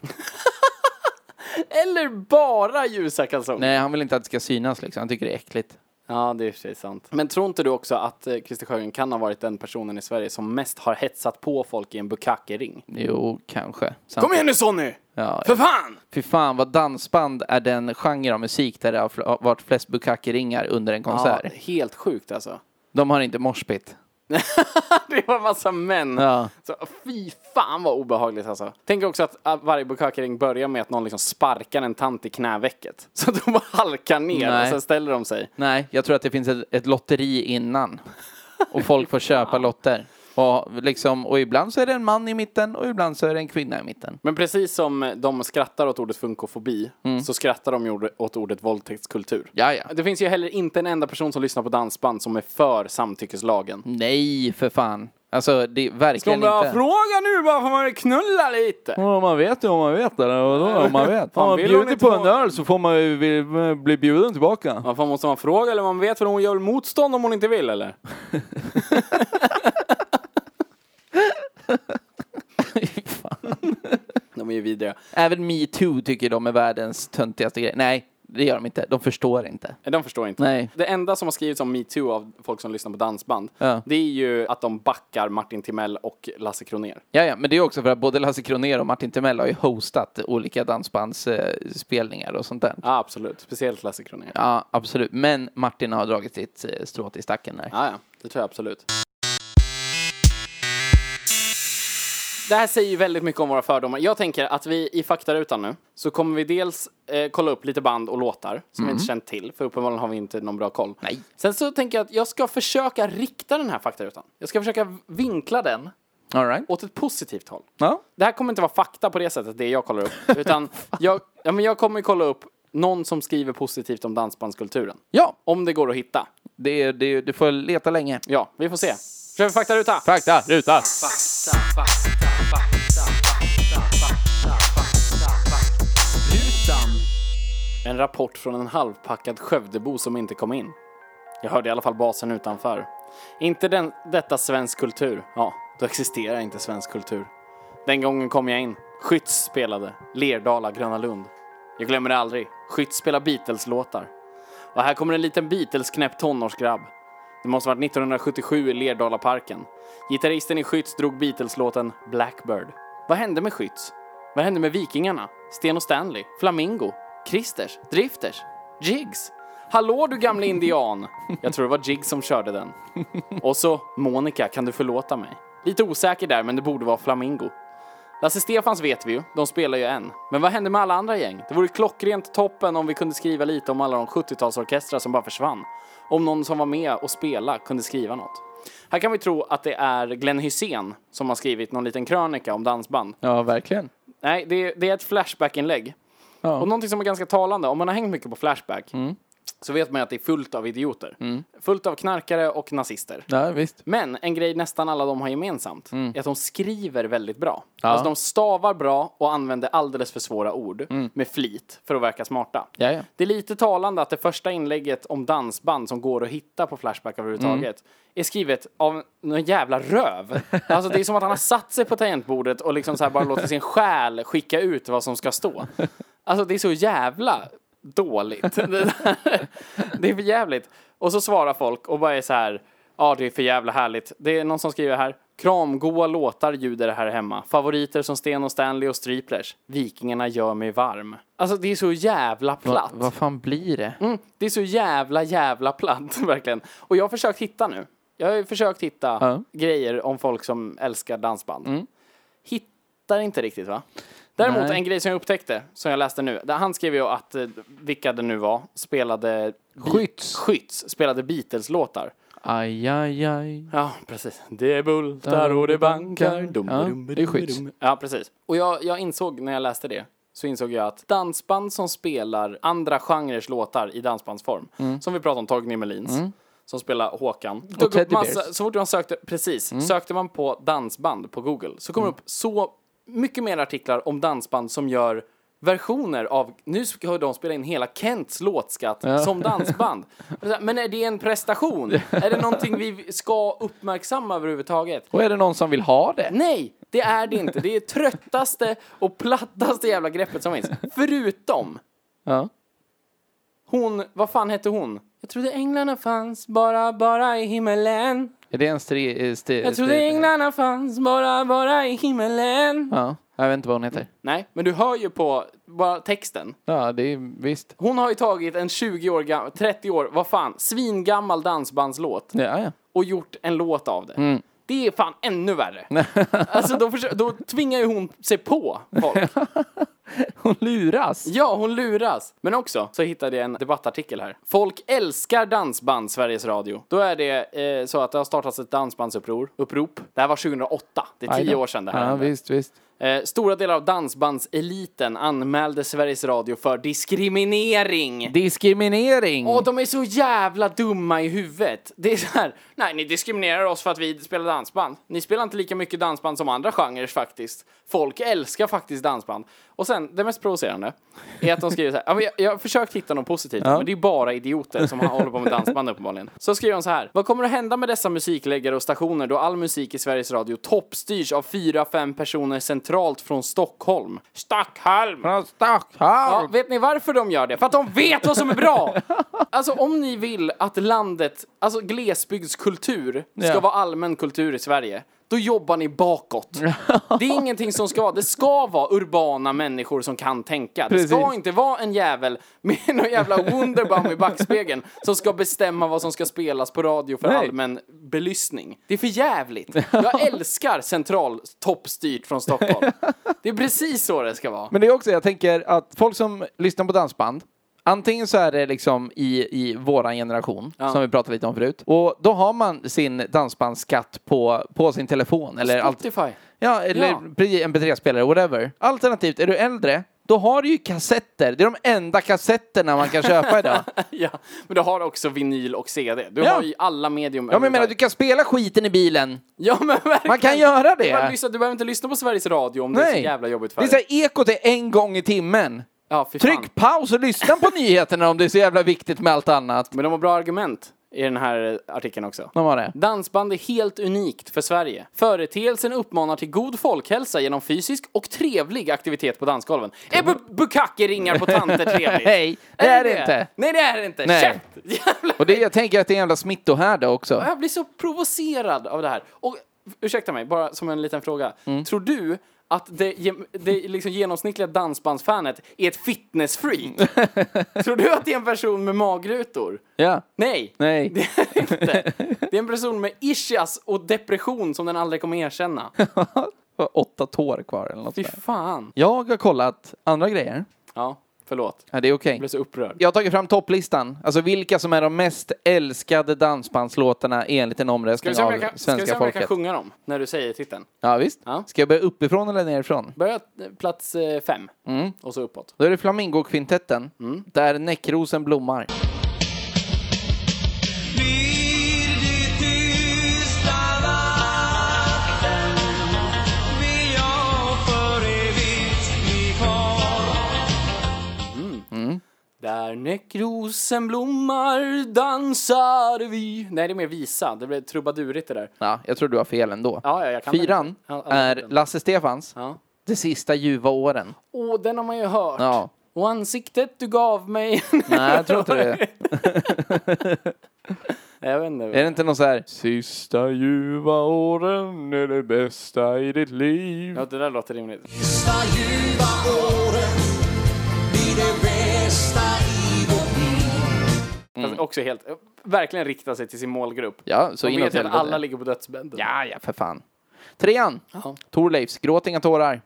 [SPEAKER 1] Eller bara ljusa kalsonger.
[SPEAKER 2] Nej, han vill inte att det ska synas liksom. Han tycker det är äckligt.
[SPEAKER 1] Ja, det är i och för sig sant. Men tror inte du också att eh, Christer Sjögren kan ha varit den personen i Sverige som mest har hetsat på folk i en bukakering?
[SPEAKER 2] Jo, kanske. Sant.
[SPEAKER 1] Kom igen nu Sonny!
[SPEAKER 2] Ja,
[SPEAKER 1] För fan!
[SPEAKER 2] Fy fan vad dansband är den genre av musik där det har fl- har varit flest bukakeringar under en
[SPEAKER 1] Ja,
[SPEAKER 2] konsert.
[SPEAKER 1] helt sjukt alltså.
[SPEAKER 2] De har inte morspit.
[SPEAKER 1] Det var massa män.
[SPEAKER 2] Ja.
[SPEAKER 1] Så, fy fan vad obehagligt alltså. Tänk också att ah, varje bukakering börjar med att någon liksom sparkar en tant i knävecket. Så att de bara halkar ner
[SPEAKER 2] Nej.
[SPEAKER 1] och sen ställer de sig.
[SPEAKER 2] Nej, jag tror att det finns ett, ett lotteri innan. Och folk får köpa lotter. Och, liksom, och ibland så är det en man i mitten och ibland så är det en kvinna i mitten.
[SPEAKER 1] Men precis som de skrattar åt ordet funkofobi så skrattar de ju åt ordet våldtäktskultur.
[SPEAKER 2] Mm. Ja, ja.
[SPEAKER 1] Det finns ju heller inte en enda person som lyssnar på dansband som är för samtyckeslagen.
[SPEAKER 2] Nej, för fan. Alltså, det är verkligen
[SPEAKER 1] Om jag
[SPEAKER 2] Mm. inte...
[SPEAKER 1] frågar nu bara får man väl knulla lite?
[SPEAKER 2] Ja, man vet ju om man vet eller vadå om man vet.
[SPEAKER 1] Fan, vill hon inte vara-
[SPEAKER 2] öl så får man ju bli, bli bjuden tillbaka.
[SPEAKER 1] Vad fan måste man fråga eller man vet för hon gör väl motstånd om hon inte vill eller? De är ju vidriga.
[SPEAKER 2] Även metoo tycker de är världens töntigaste grej. Nej, det gör de inte. De förstår inte.
[SPEAKER 1] Nej, De förstår inte.
[SPEAKER 2] Nej.
[SPEAKER 1] Det enda som har skrivits om metoo av folk som lyssnar på dansband,
[SPEAKER 2] Ja.
[SPEAKER 1] det är ju att de backar Martin Timell och Lasse Kronér.
[SPEAKER 2] Ja, ja, men det är också för att både Lasse Kronér och Martin Timell har ju hostat olika dansbandsspelningar och sånt där.
[SPEAKER 1] Ja, absolut. Speciellt Lasse Kronér. Ja.
[SPEAKER 2] Ja, absolut. Men Martin har dragit sitt eh, strå till stacken där.
[SPEAKER 1] ja, det tror jag absolut. Det här säger ju väldigt mycket om våra fördomar. Jag tänker att vi i faktarutan nu så kommer vi dels eh, kolla upp lite band och låtar som vi inte känt till, för uppenbarligen har vi inte någon bra koll.
[SPEAKER 2] Mm. Nej.
[SPEAKER 1] Sen så tänker jag att jag ska försöka rikta den här faktarutan. Jag ska försöka vinkla den
[SPEAKER 2] All right.
[SPEAKER 1] åt ett positivt håll.
[SPEAKER 2] Ja.
[SPEAKER 1] Det här kommer inte vara fakta på det sättet, det jag kollar upp. Utan jag, ja, men jag kommer kolla upp någon som skriver positivt om dansbandskulturen.
[SPEAKER 2] Ja,
[SPEAKER 1] Om det går att hitta.
[SPEAKER 2] det, är- det, är- du får leta länge.
[SPEAKER 1] Ja, vi får se. Kör vi faktaruta?
[SPEAKER 2] Fakta, ruta.
[SPEAKER 1] En rapport från en halvpackad Skövdebo som inte kom in. Jag hörde i alla fall basen utanför. Inte den, detta svensk kultur. Ja, då existerar inte svensk kultur. Den gången kom jag in. Skytts spelade. Lerdala, Gröna Lund. Jag glömmer det aldrig. Skytts spelar Beatles-låtar. Och här kommer en liten Beatles-knäpp tonårsgrabb. Det måste ha varit 1977 i Lerdalaparken. Gitarristen i Skytts drog Beatles-låten Blackbird. Vad hände med Skytts? Vad hände med Vikingarna? Sten och Stanley? Flamingo? Christers? Drifters? Jigs? Hallå du gamle indian! Jag tror det var Jiggs som körde den. Och så Monica, kan du förlåta mig? Lite osäker där, men det borde vara Flamingo. Lasse Stefans vet vi ju, de spelar ju än. Men vad hände med alla andra gäng? Det vore klockrent toppen om vi kunde skriva lite om alla de 70-talsorkestrar som bara försvann. Om någon som var med och spela kunde skriva något. Här kan vi tro att det är Glenn Hysén som har skrivit någon liten krönika om dansband.
[SPEAKER 2] Ja, verkligen.
[SPEAKER 1] Nej, det, det är ett Flashback-inlägg.
[SPEAKER 2] Ja.
[SPEAKER 1] Och någonting som är ganska talande, om man har hängt mycket på Flashback så vet man ju att det är fullt av idioter. Fullt av knarkare och nazister.
[SPEAKER 2] Ja, visst.
[SPEAKER 1] Men en grej nästan alla de har gemensamt
[SPEAKER 2] Mm.
[SPEAKER 1] är att de skriver väldigt bra. Alltså de stavar bra och använder alldeles för svåra ord med flit för att verka smarta.
[SPEAKER 2] Mm. Ja, ja.
[SPEAKER 1] Det är lite talande att det första inlägget om dansband som går att hitta på Flashback överhuvudtaget är skrivet av någon jävla röv. Alltså det är som att han har satt sig på tangentbordet och liksom så här bara låter sin själ skicka ut vad som ska stå. Alltså det är så jävla dåligt. Det, där. det är för jävligt. Och så svarar folk och bara är så här, ja det är för jävla härligt. Det är någon som skriver här, kramgoa låtar ljuder det här hemma. Favoriter som Sten och Stanley och Striplers. Vikingarna gör mig varm. Alltså det är så jävla platt.
[SPEAKER 2] Vad fan blir det?
[SPEAKER 1] Mm, det är så jävla, jävla platt verkligen. Och jag har försökt hitta nu. Jag har ju försökt hitta
[SPEAKER 2] Ja.
[SPEAKER 1] grejer om folk som älskar dansband. Hittar inte riktigt va? Däremot
[SPEAKER 2] Nej.
[SPEAKER 1] en grej som jag upptäckte, som jag läste nu. Där han skrev ju att, eh, vilka det nu var, spelade...
[SPEAKER 2] Skytts.
[SPEAKER 1] Skytts spelade Beatles-låtar.
[SPEAKER 2] Aj, aj, aj.
[SPEAKER 1] Ja, precis. Det är bultar och det bankar. Dum,
[SPEAKER 2] Ja,
[SPEAKER 1] dum,
[SPEAKER 2] det är skit.
[SPEAKER 1] dum. Ja, precis. Och jag, jag insåg när jag läste det så insåg jag att dansband som spelar andra genrers låtar i dansbandsform,
[SPEAKER 2] Mm.
[SPEAKER 1] som vi pratade om Torgny Melins, som spelar Håkan. Dök upp
[SPEAKER 2] Teddy
[SPEAKER 1] massa,
[SPEAKER 2] Bears. Mm.
[SPEAKER 1] så fort man sökte, precis, sökte man på dansband på Google så kom det upp så mycket mer artiklar om dansband som gör versioner av, nu ska de spela in hela Kents låtskatt som dansband. Men är det en prestation? är det någonting vi ska uppmärksamma överhuvudtaget?
[SPEAKER 2] Och är det någon som vill ha det?
[SPEAKER 1] Nej, det är det inte. Det är tröttaste och plattaste jävla greppet som finns. Förutom
[SPEAKER 2] Ja.
[SPEAKER 1] hon, vad fan hette hon? Jag trodde änglarna fanns bara, bara i himmelen.
[SPEAKER 2] Är det en stri... eh, sti-
[SPEAKER 1] Jag trodde
[SPEAKER 2] sti-
[SPEAKER 1] änglarna fanns bara, bara i himmelen.
[SPEAKER 2] Ja, jag vet inte vad hon heter.
[SPEAKER 1] Nej, men du hör ju på bara texten.
[SPEAKER 2] Ja, det är visst.
[SPEAKER 1] Hon har ju tagit en 20 år gammal, 30 år, vad fan, svingammal dansbandslåt
[SPEAKER 2] Ja, ja.
[SPEAKER 1] och gjort en låt av det. Det är fan ännu värre. alltså då, försö- då tvingar ju hon sig på folk.
[SPEAKER 2] Hon luras.
[SPEAKER 1] Ja, hon luras. Men också så hittade jag en debattartikel här. Folk älskar dansband, Sveriges Radio. Då är det eh, så att det har startats ett dansbandsupprop. Upprop. Det här var 2008. Det är
[SPEAKER 2] Aj
[SPEAKER 1] tio
[SPEAKER 2] då.
[SPEAKER 1] år sedan det här
[SPEAKER 2] Ja,
[SPEAKER 1] hände.
[SPEAKER 2] visst, visst.
[SPEAKER 1] Eh, stora delar av dansbandseliten anmälde Sveriges Radio för diskriminering.
[SPEAKER 2] Diskriminering!
[SPEAKER 1] Åh, de är så jävla dumma i huvudet. Det är så här, nej, ni diskriminerar oss för att vi spelar dansband. Ni spelar inte lika mycket dansband som andra genrer faktiskt. Folk älskar faktiskt dansband. Och sen, det mest provocerande är att de skriver så här, ja, men jag, jag har försökt hitta något positivt, men det är bara idioter som håller på med dansband uppenbarligen. Så skriver de så här, vad kommer att hända med dessa musikläggare och stationer då all musik i Sveriges Radio toppstyrs av fyra, fem personer centralt från Stockholm? Stockholm!
[SPEAKER 2] Från Stockholm!
[SPEAKER 1] Ja, vet ni varför de gör det? För att de vet vad som är bra! Alltså om ni vill att landet, alltså glesbygdskultur, ska
[SPEAKER 2] Ja.
[SPEAKER 1] vara allmän kultur i Sverige, då jobbar ni bakåt. Det är ingenting som ska vara, det ska vara urbana människor som kan tänka. Det ska
[SPEAKER 2] Precis.
[SPEAKER 1] inte vara en jävel med någon jävla wunderbaum i backspegeln som ska bestämma vad som ska spelas på radio för
[SPEAKER 2] Nej.
[SPEAKER 1] allmän belysning. Det är för jävligt. Jag älskar central toppstyrt från Stockholm. Det är precis så det ska vara.
[SPEAKER 2] Men det är också, jag tänker att folk som lyssnar på dansband, antingen så är det liksom i, i våran generation, som vi pratade lite om förut, och då har man sin dansbandsskatt på, på sin telefon eller eh, allt.
[SPEAKER 1] Spotify.
[SPEAKER 2] Ja, eller
[SPEAKER 1] Ja.
[SPEAKER 2] precis, mp3-spelare, whatever. Alternativt, är du äldre, då har du ju kassetter. Det är de enda kassetterna man kan köpa idag.
[SPEAKER 1] Ja, men du har också vinyl och CD. Du
[SPEAKER 2] Ja.
[SPEAKER 1] har ju alla medium.
[SPEAKER 2] Ja, men jag menar, du kan spela skiten i bilen.
[SPEAKER 1] ja, men verkligen.
[SPEAKER 2] Man kan göra
[SPEAKER 1] Du behöver,
[SPEAKER 2] det.
[SPEAKER 1] lyssna, du behöver inte lyssna på Sveriges Radio om det är så
[SPEAKER 2] Nej.
[SPEAKER 1] jävla jobbigt för
[SPEAKER 2] Det är så
[SPEAKER 1] dig.
[SPEAKER 2] här, ekot är en gång i timmen.
[SPEAKER 1] Ja, fy fan.
[SPEAKER 2] Tryck paus och lyssna på nyheterna om det är så jävla viktigt med allt annat.
[SPEAKER 1] Men de har bra argument i den här artikeln också.
[SPEAKER 2] De har det.
[SPEAKER 1] Dansband är helt unikt för Sverige. Företeelsen uppmanar till god folkhälsa genom fysisk och trevlig aktivitet på dansgolven. Är bu- bukake ringar på tanter trevligt?
[SPEAKER 2] Nej, det är det inte.
[SPEAKER 1] Nej, det är det inte.
[SPEAKER 2] Nej.
[SPEAKER 1] Käft! Jävla
[SPEAKER 2] Och det, jag tänker att det är en jävla smittohärda också.
[SPEAKER 1] Jag blir så provocerad av det här. Och ursäkta mig, bara som en liten fråga.
[SPEAKER 2] Mm.
[SPEAKER 1] Tror du att det, gem- det liksom genomsnittliga dansbandsfanet är ett fitnessfreak? Tror du att det är en person med magrutor?
[SPEAKER 2] Ja.
[SPEAKER 1] Nej,
[SPEAKER 2] Nej.
[SPEAKER 1] det är det inte. Det är en person med ischias och depression som den aldrig kommer erkänna.
[SPEAKER 2] Det var Åtta tår kvar eller något
[SPEAKER 1] Fy
[SPEAKER 2] sånt där.
[SPEAKER 1] fan.
[SPEAKER 2] Jag har kollat andra grejer.
[SPEAKER 1] Ja, förlåt.
[SPEAKER 2] Ja, det är okej.
[SPEAKER 1] Jag blev så upprörd.
[SPEAKER 2] Jag har tagit fram topplistan. Alltså vilka som är de mest älskade dansbandslåtarna enligt en
[SPEAKER 1] Ska vi
[SPEAKER 2] omröstning
[SPEAKER 1] se om
[SPEAKER 2] av
[SPEAKER 1] jag kan, ska vi se
[SPEAKER 2] svenska
[SPEAKER 1] om jag kan
[SPEAKER 2] folket.
[SPEAKER 1] sjunga dem när du säger titeln?
[SPEAKER 2] Ja, visst.
[SPEAKER 1] Ja.
[SPEAKER 2] Ska jag börja uppifrån eller nerifrån?
[SPEAKER 1] Börja eh, plats eh, fem
[SPEAKER 2] Mm.
[SPEAKER 1] och så uppåt.
[SPEAKER 2] Då är det Flamingokvintetten,
[SPEAKER 1] Mm.
[SPEAKER 2] där näckrosen blommar.
[SPEAKER 6] Blir det tysta natten blir jag för evigt bli kvar
[SPEAKER 1] Där näckrosen blommar dansar vi Nej, det är mer visa. Det blev trubadurigt det där.
[SPEAKER 2] Ja, jag tror du har fel ändå.
[SPEAKER 1] Ja, ja, jag kan
[SPEAKER 2] Fyran
[SPEAKER 1] den. Ja, alla
[SPEAKER 2] är
[SPEAKER 1] den.
[SPEAKER 2] Lasse Stefans
[SPEAKER 1] Ja.
[SPEAKER 2] De sista ljuva åren.
[SPEAKER 1] Åh, den har man ju hört.
[SPEAKER 2] Ja.
[SPEAKER 1] Och ansiktet du gav mig.
[SPEAKER 2] Nej, jag tror inte det.
[SPEAKER 1] Nej, jag vet inte.
[SPEAKER 2] Är det inte någon så här...
[SPEAKER 5] Sista ljuva åren är det bästa i ditt liv.
[SPEAKER 1] Ja, det där låter rimligt.
[SPEAKER 6] Sista ljuva åren blir det bästa i vårt liv
[SPEAKER 1] Fast också helt... Verkligen rikta sig till sin målgrupp.
[SPEAKER 2] Ja, Mm. så
[SPEAKER 1] De
[SPEAKER 2] inåt
[SPEAKER 1] vet ju att
[SPEAKER 2] helvete.
[SPEAKER 1] alla ligger på dödsbädden.
[SPEAKER 2] Ja, ja, för fan. Trean.
[SPEAKER 1] Jaha.
[SPEAKER 2] Torleifs Gråt inga tårar.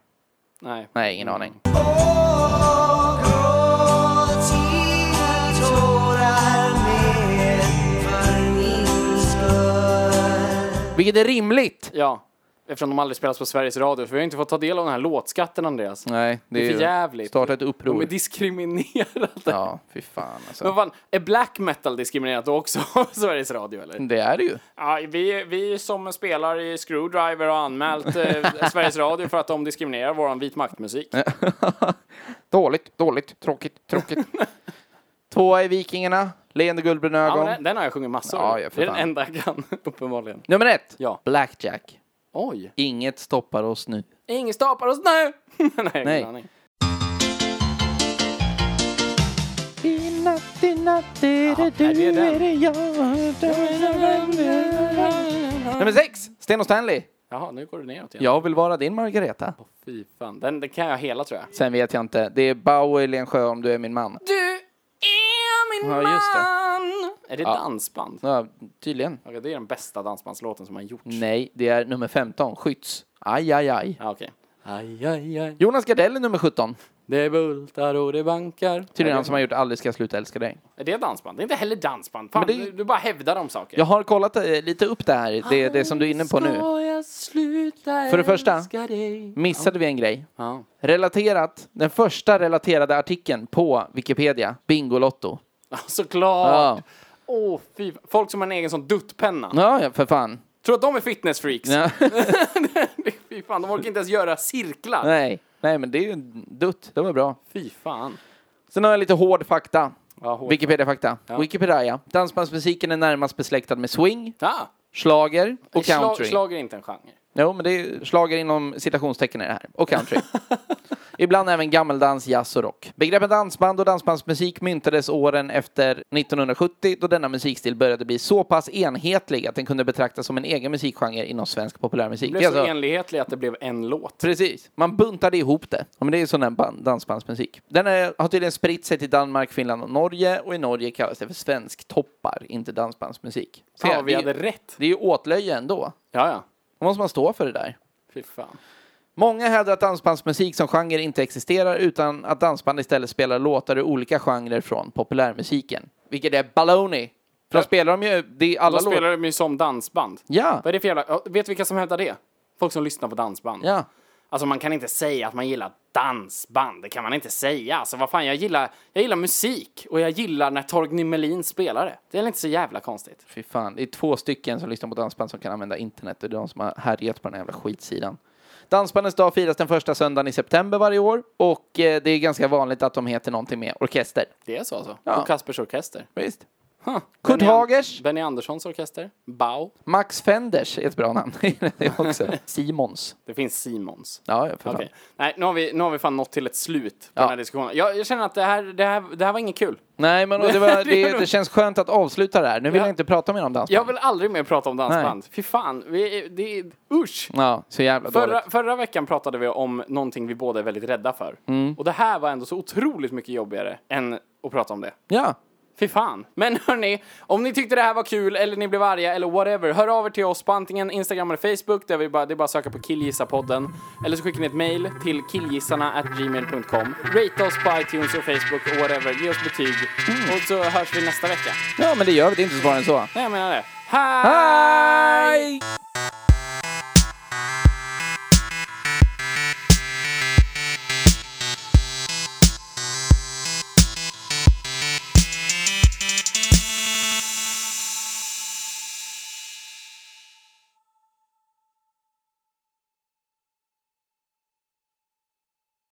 [SPEAKER 1] Nej.
[SPEAKER 2] Nej, ingen aning.
[SPEAKER 6] Åh, gråt inga tårar mer för min skull
[SPEAKER 2] Vilket är rimligt.
[SPEAKER 1] Ja. Eftersom de aldrig spelas på Sveriges Radio. För vi har inte fått ta del av den här låtskatten Andreas.
[SPEAKER 2] Nej, det,
[SPEAKER 1] Det är för
[SPEAKER 2] är ju...
[SPEAKER 1] jävligt.
[SPEAKER 2] Starta ett
[SPEAKER 1] De är
[SPEAKER 2] uppror.
[SPEAKER 1] diskriminerade.
[SPEAKER 2] Ja, fy fan
[SPEAKER 1] Men
[SPEAKER 2] alltså.
[SPEAKER 1] fan, är black metal diskriminerat då också av Sveriges Radio eller?
[SPEAKER 2] Det är det ju.
[SPEAKER 1] Ja, vi, vi som spelar i Screwdriver har anmält eh, Sveriges Radio för att de diskriminerar våran vit maktmusik.
[SPEAKER 2] Dåligt, dåligt, tråkigt, tråkigt. Tvåa är Vikingarna, leende guldbruna
[SPEAKER 1] Ja, men
[SPEAKER 2] ögon.
[SPEAKER 1] den, den har jag sjungit massor.
[SPEAKER 2] Ja,
[SPEAKER 1] Ja,
[SPEAKER 2] ja, för
[SPEAKER 1] det är den
[SPEAKER 2] fan.
[SPEAKER 1] enda jag kan, uppenbarligen.
[SPEAKER 2] Nummer ett,
[SPEAKER 1] Ja.
[SPEAKER 2] Blackjack.
[SPEAKER 1] Oj!
[SPEAKER 2] Inget stoppar oss nu.
[SPEAKER 1] Ingen stoppar oss nu! Nej, ingen
[SPEAKER 2] Nej.
[SPEAKER 1] aning.
[SPEAKER 2] Nummer sex, Sten och Stanley.
[SPEAKER 1] Jaha, nu går det neråt igen.
[SPEAKER 2] Jag vill vara din Margareta.
[SPEAKER 1] Fy fan. Den, den kan jag hela tror jag.
[SPEAKER 2] Sen vet jag inte. Det är Bauer Lensjö om du är min man.
[SPEAKER 1] Du är min
[SPEAKER 2] Ja, just det.
[SPEAKER 1] man! Är det dansband?
[SPEAKER 2] Ja, tydligen.
[SPEAKER 1] Okej, det är den bästa dansbandslåten som har gjorts.
[SPEAKER 2] Nej, det är nummer 15, Skytts. Aj, aj, aj.
[SPEAKER 1] Ja, okej. Aj, aj, aj.
[SPEAKER 2] Jonas Gardell är nummer 17.
[SPEAKER 1] Det är bultar och det bankar.
[SPEAKER 2] Tydligen han som har gjort Aldrig ska jag sluta älska dig.
[SPEAKER 1] Är det dansband? Det är inte heller dansband. Fan,
[SPEAKER 2] Men det-
[SPEAKER 1] du, du bara hävdar om saker.
[SPEAKER 2] Jag har kollat eh, lite upp det här, det, det som du är inne på nu. För det första missade vi en grej.
[SPEAKER 1] Ja.
[SPEAKER 2] Relaterat, den första relaterade artikeln på Wikipedia, Bingolotto.
[SPEAKER 1] Ja, såklart!
[SPEAKER 2] Ja,
[SPEAKER 1] Åh, fy. Folk som har en egen sån duttpenna.
[SPEAKER 2] ja, ja, för fan.
[SPEAKER 1] Tror att de är fitnessfreaks?
[SPEAKER 2] Ja.
[SPEAKER 1] Fy fan, de orkar inte ens göra cirklar.
[SPEAKER 2] Nej, nej, men det är ju en dutt. De är bra.
[SPEAKER 1] Fy fan.
[SPEAKER 2] Sen har jag lite hård fakta.
[SPEAKER 1] Ja, hårt.
[SPEAKER 2] Wikipedia-fakta. Wikipedia. Dansbandsmusiken är närmast besläktad med swing,
[SPEAKER 1] Ah,
[SPEAKER 2] schlager och
[SPEAKER 1] schla-
[SPEAKER 2] country.
[SPEAKER 1] Schlager är inte en genre.
[SPEAKER 2] Jo, men det är slager inom citationstecken är det här. Och country. Ibland även gammeldans, jazz och rock. Begreppen dansband och dansbandsmusik myntades åren efter 1970 då denna musikstil började bli så pass enhetlig att den kunde betraktas som en egen musikgenre inom svensk populärmusik.
[SPEAKER 1] Det
[SPEAKER 2] Det är
[SPEAKER 1] blev så
[SPEAKER 2] alltså-
[SPEAKER 1] enlighetlig att det blev en låt.
[SPEAKER 2] Precis, man buntade ihop det. Ja, men det är ju sån där band, dansbandsmusik. Den är, har tydligen spritt sig till Danmark, Finland och Norge och i Norge kallas det för svensk toppar, inte dansbandsmusik. Så
[SPEAKER 1] Fan, vad vi
[SPEAKER 2] det, är-
[SPEAKER 1] hade rätt.
[SPEAKER 2] det är ju åtlöje ändå.
[SPEAKER 1] Ja, ja.
[SPEAKER 2] Då måste man stå för det där.
[SPEAKER 1] Fy fan.
[SPEAKER 2] Många hävdar att dansbandsmusik som genre inte existerar utan att dansband istället spelar låtar ur olika genrer från populärmusiken. Vilket är baloney. För de spelar de ju, det är alla
[SPEAKER 1] Då
[SPEAKER 2] låtar.
[SPEAKER 1] spelar de ju som dansband.
[SPEAKER 2] Ja,
[SPEAKER 1] Vad är det för jävla... ja, Vet du vilka som hävdar det? Folk som lyssnar på dansband.
[SPEAKER 2] ja.
[SPEAKER 1] Alltså man kan inte säga att man gillar dansband, det kan man inte säga. Alltså vad fan, jag gillar, jag gillar musik och jag gillar när Torgny Melin spelar det. Det är väl inte så jävla konstigt.
[SPEAKER 2] Fy fan, det är två stycken som lyssnar på dansband som kan använda internet och det är de som har härjat på den här jävla skitsidan. Dansbandens dag firas den första söndagen i september varje år och eh, det är ganska vanligt att de heter någonting med orkester.
[SPEAKER 1] Det är så alltså?
[SPEAKER 2] Ja.
[SPEAKER 1] Och Kaspers Orkester.
[SPEAKER 2] Visst.
[SPEAKER 1] Huh.
[SPEAKER 2] Kurt
[SPEAKER 1] Benny An-
[SPEAKER 2] Hagers,
[SPEAKER 1] Benny Anderssons Orkester. Bau.
[SPEAKER 2] Max Fenders är ett bra namn. Det är också. Simons.
[SPEAKER 1] Det finns Simons.
[SPEAKER 2] Ja, ja, för fan.
[SPEAKER 1] Okej. Nej, nu har, vi, nu har vi fan nått till ett slut på
[SPEAKER 2] Ja.
[SPEAKER 1] den här diskussionen. Jag, jag känner att det här, det, här, det här var inget kul.
[SPEAKER 2] Nej, men och det, var, det, det känns skönt att avsluta det här. Nu vill
[SPEAKER 1] Ja.
[SPEAKER 2] jag inte prata mer om dansband.
[SPEAKER 1] Jag vill aldrig mer prata om dansband. Fy fan, vi, är- det är... Usch!
[SPEAKER 2] Ja, så jävla
[SPEAKER 1] Förra,
[SPEAKER 2] dåligt.
[SPEAKER 1] förra veckan pratade vi om någonting vi båda är väldigt rädda för. Och det här var ändå så otroligt mycket jobbigare än att prata om det.
[SPEAKER 2] Ja,
[SPEAKER 1] Fy fan. Men hörni, om ni tyckte det här var kul eller ni blev arga eller whatever, hör av er till oss på antingen Instagram eller Facebook, där vi bara, det är bara att söka på Killgissarpodden. Eller så skickar ni ett mail till killgissarna.gmail.com. Rate oss på iTunes och Facebook och whatever, ge oss betyg. Och så hörs vi nästa vecka.
[SPEAKER 2] ja men det gör vi. Det är inte svårare än så.
[SPEAKER 1] Nej, jag menar det. Hej!
[SPEAKER 2] Hej!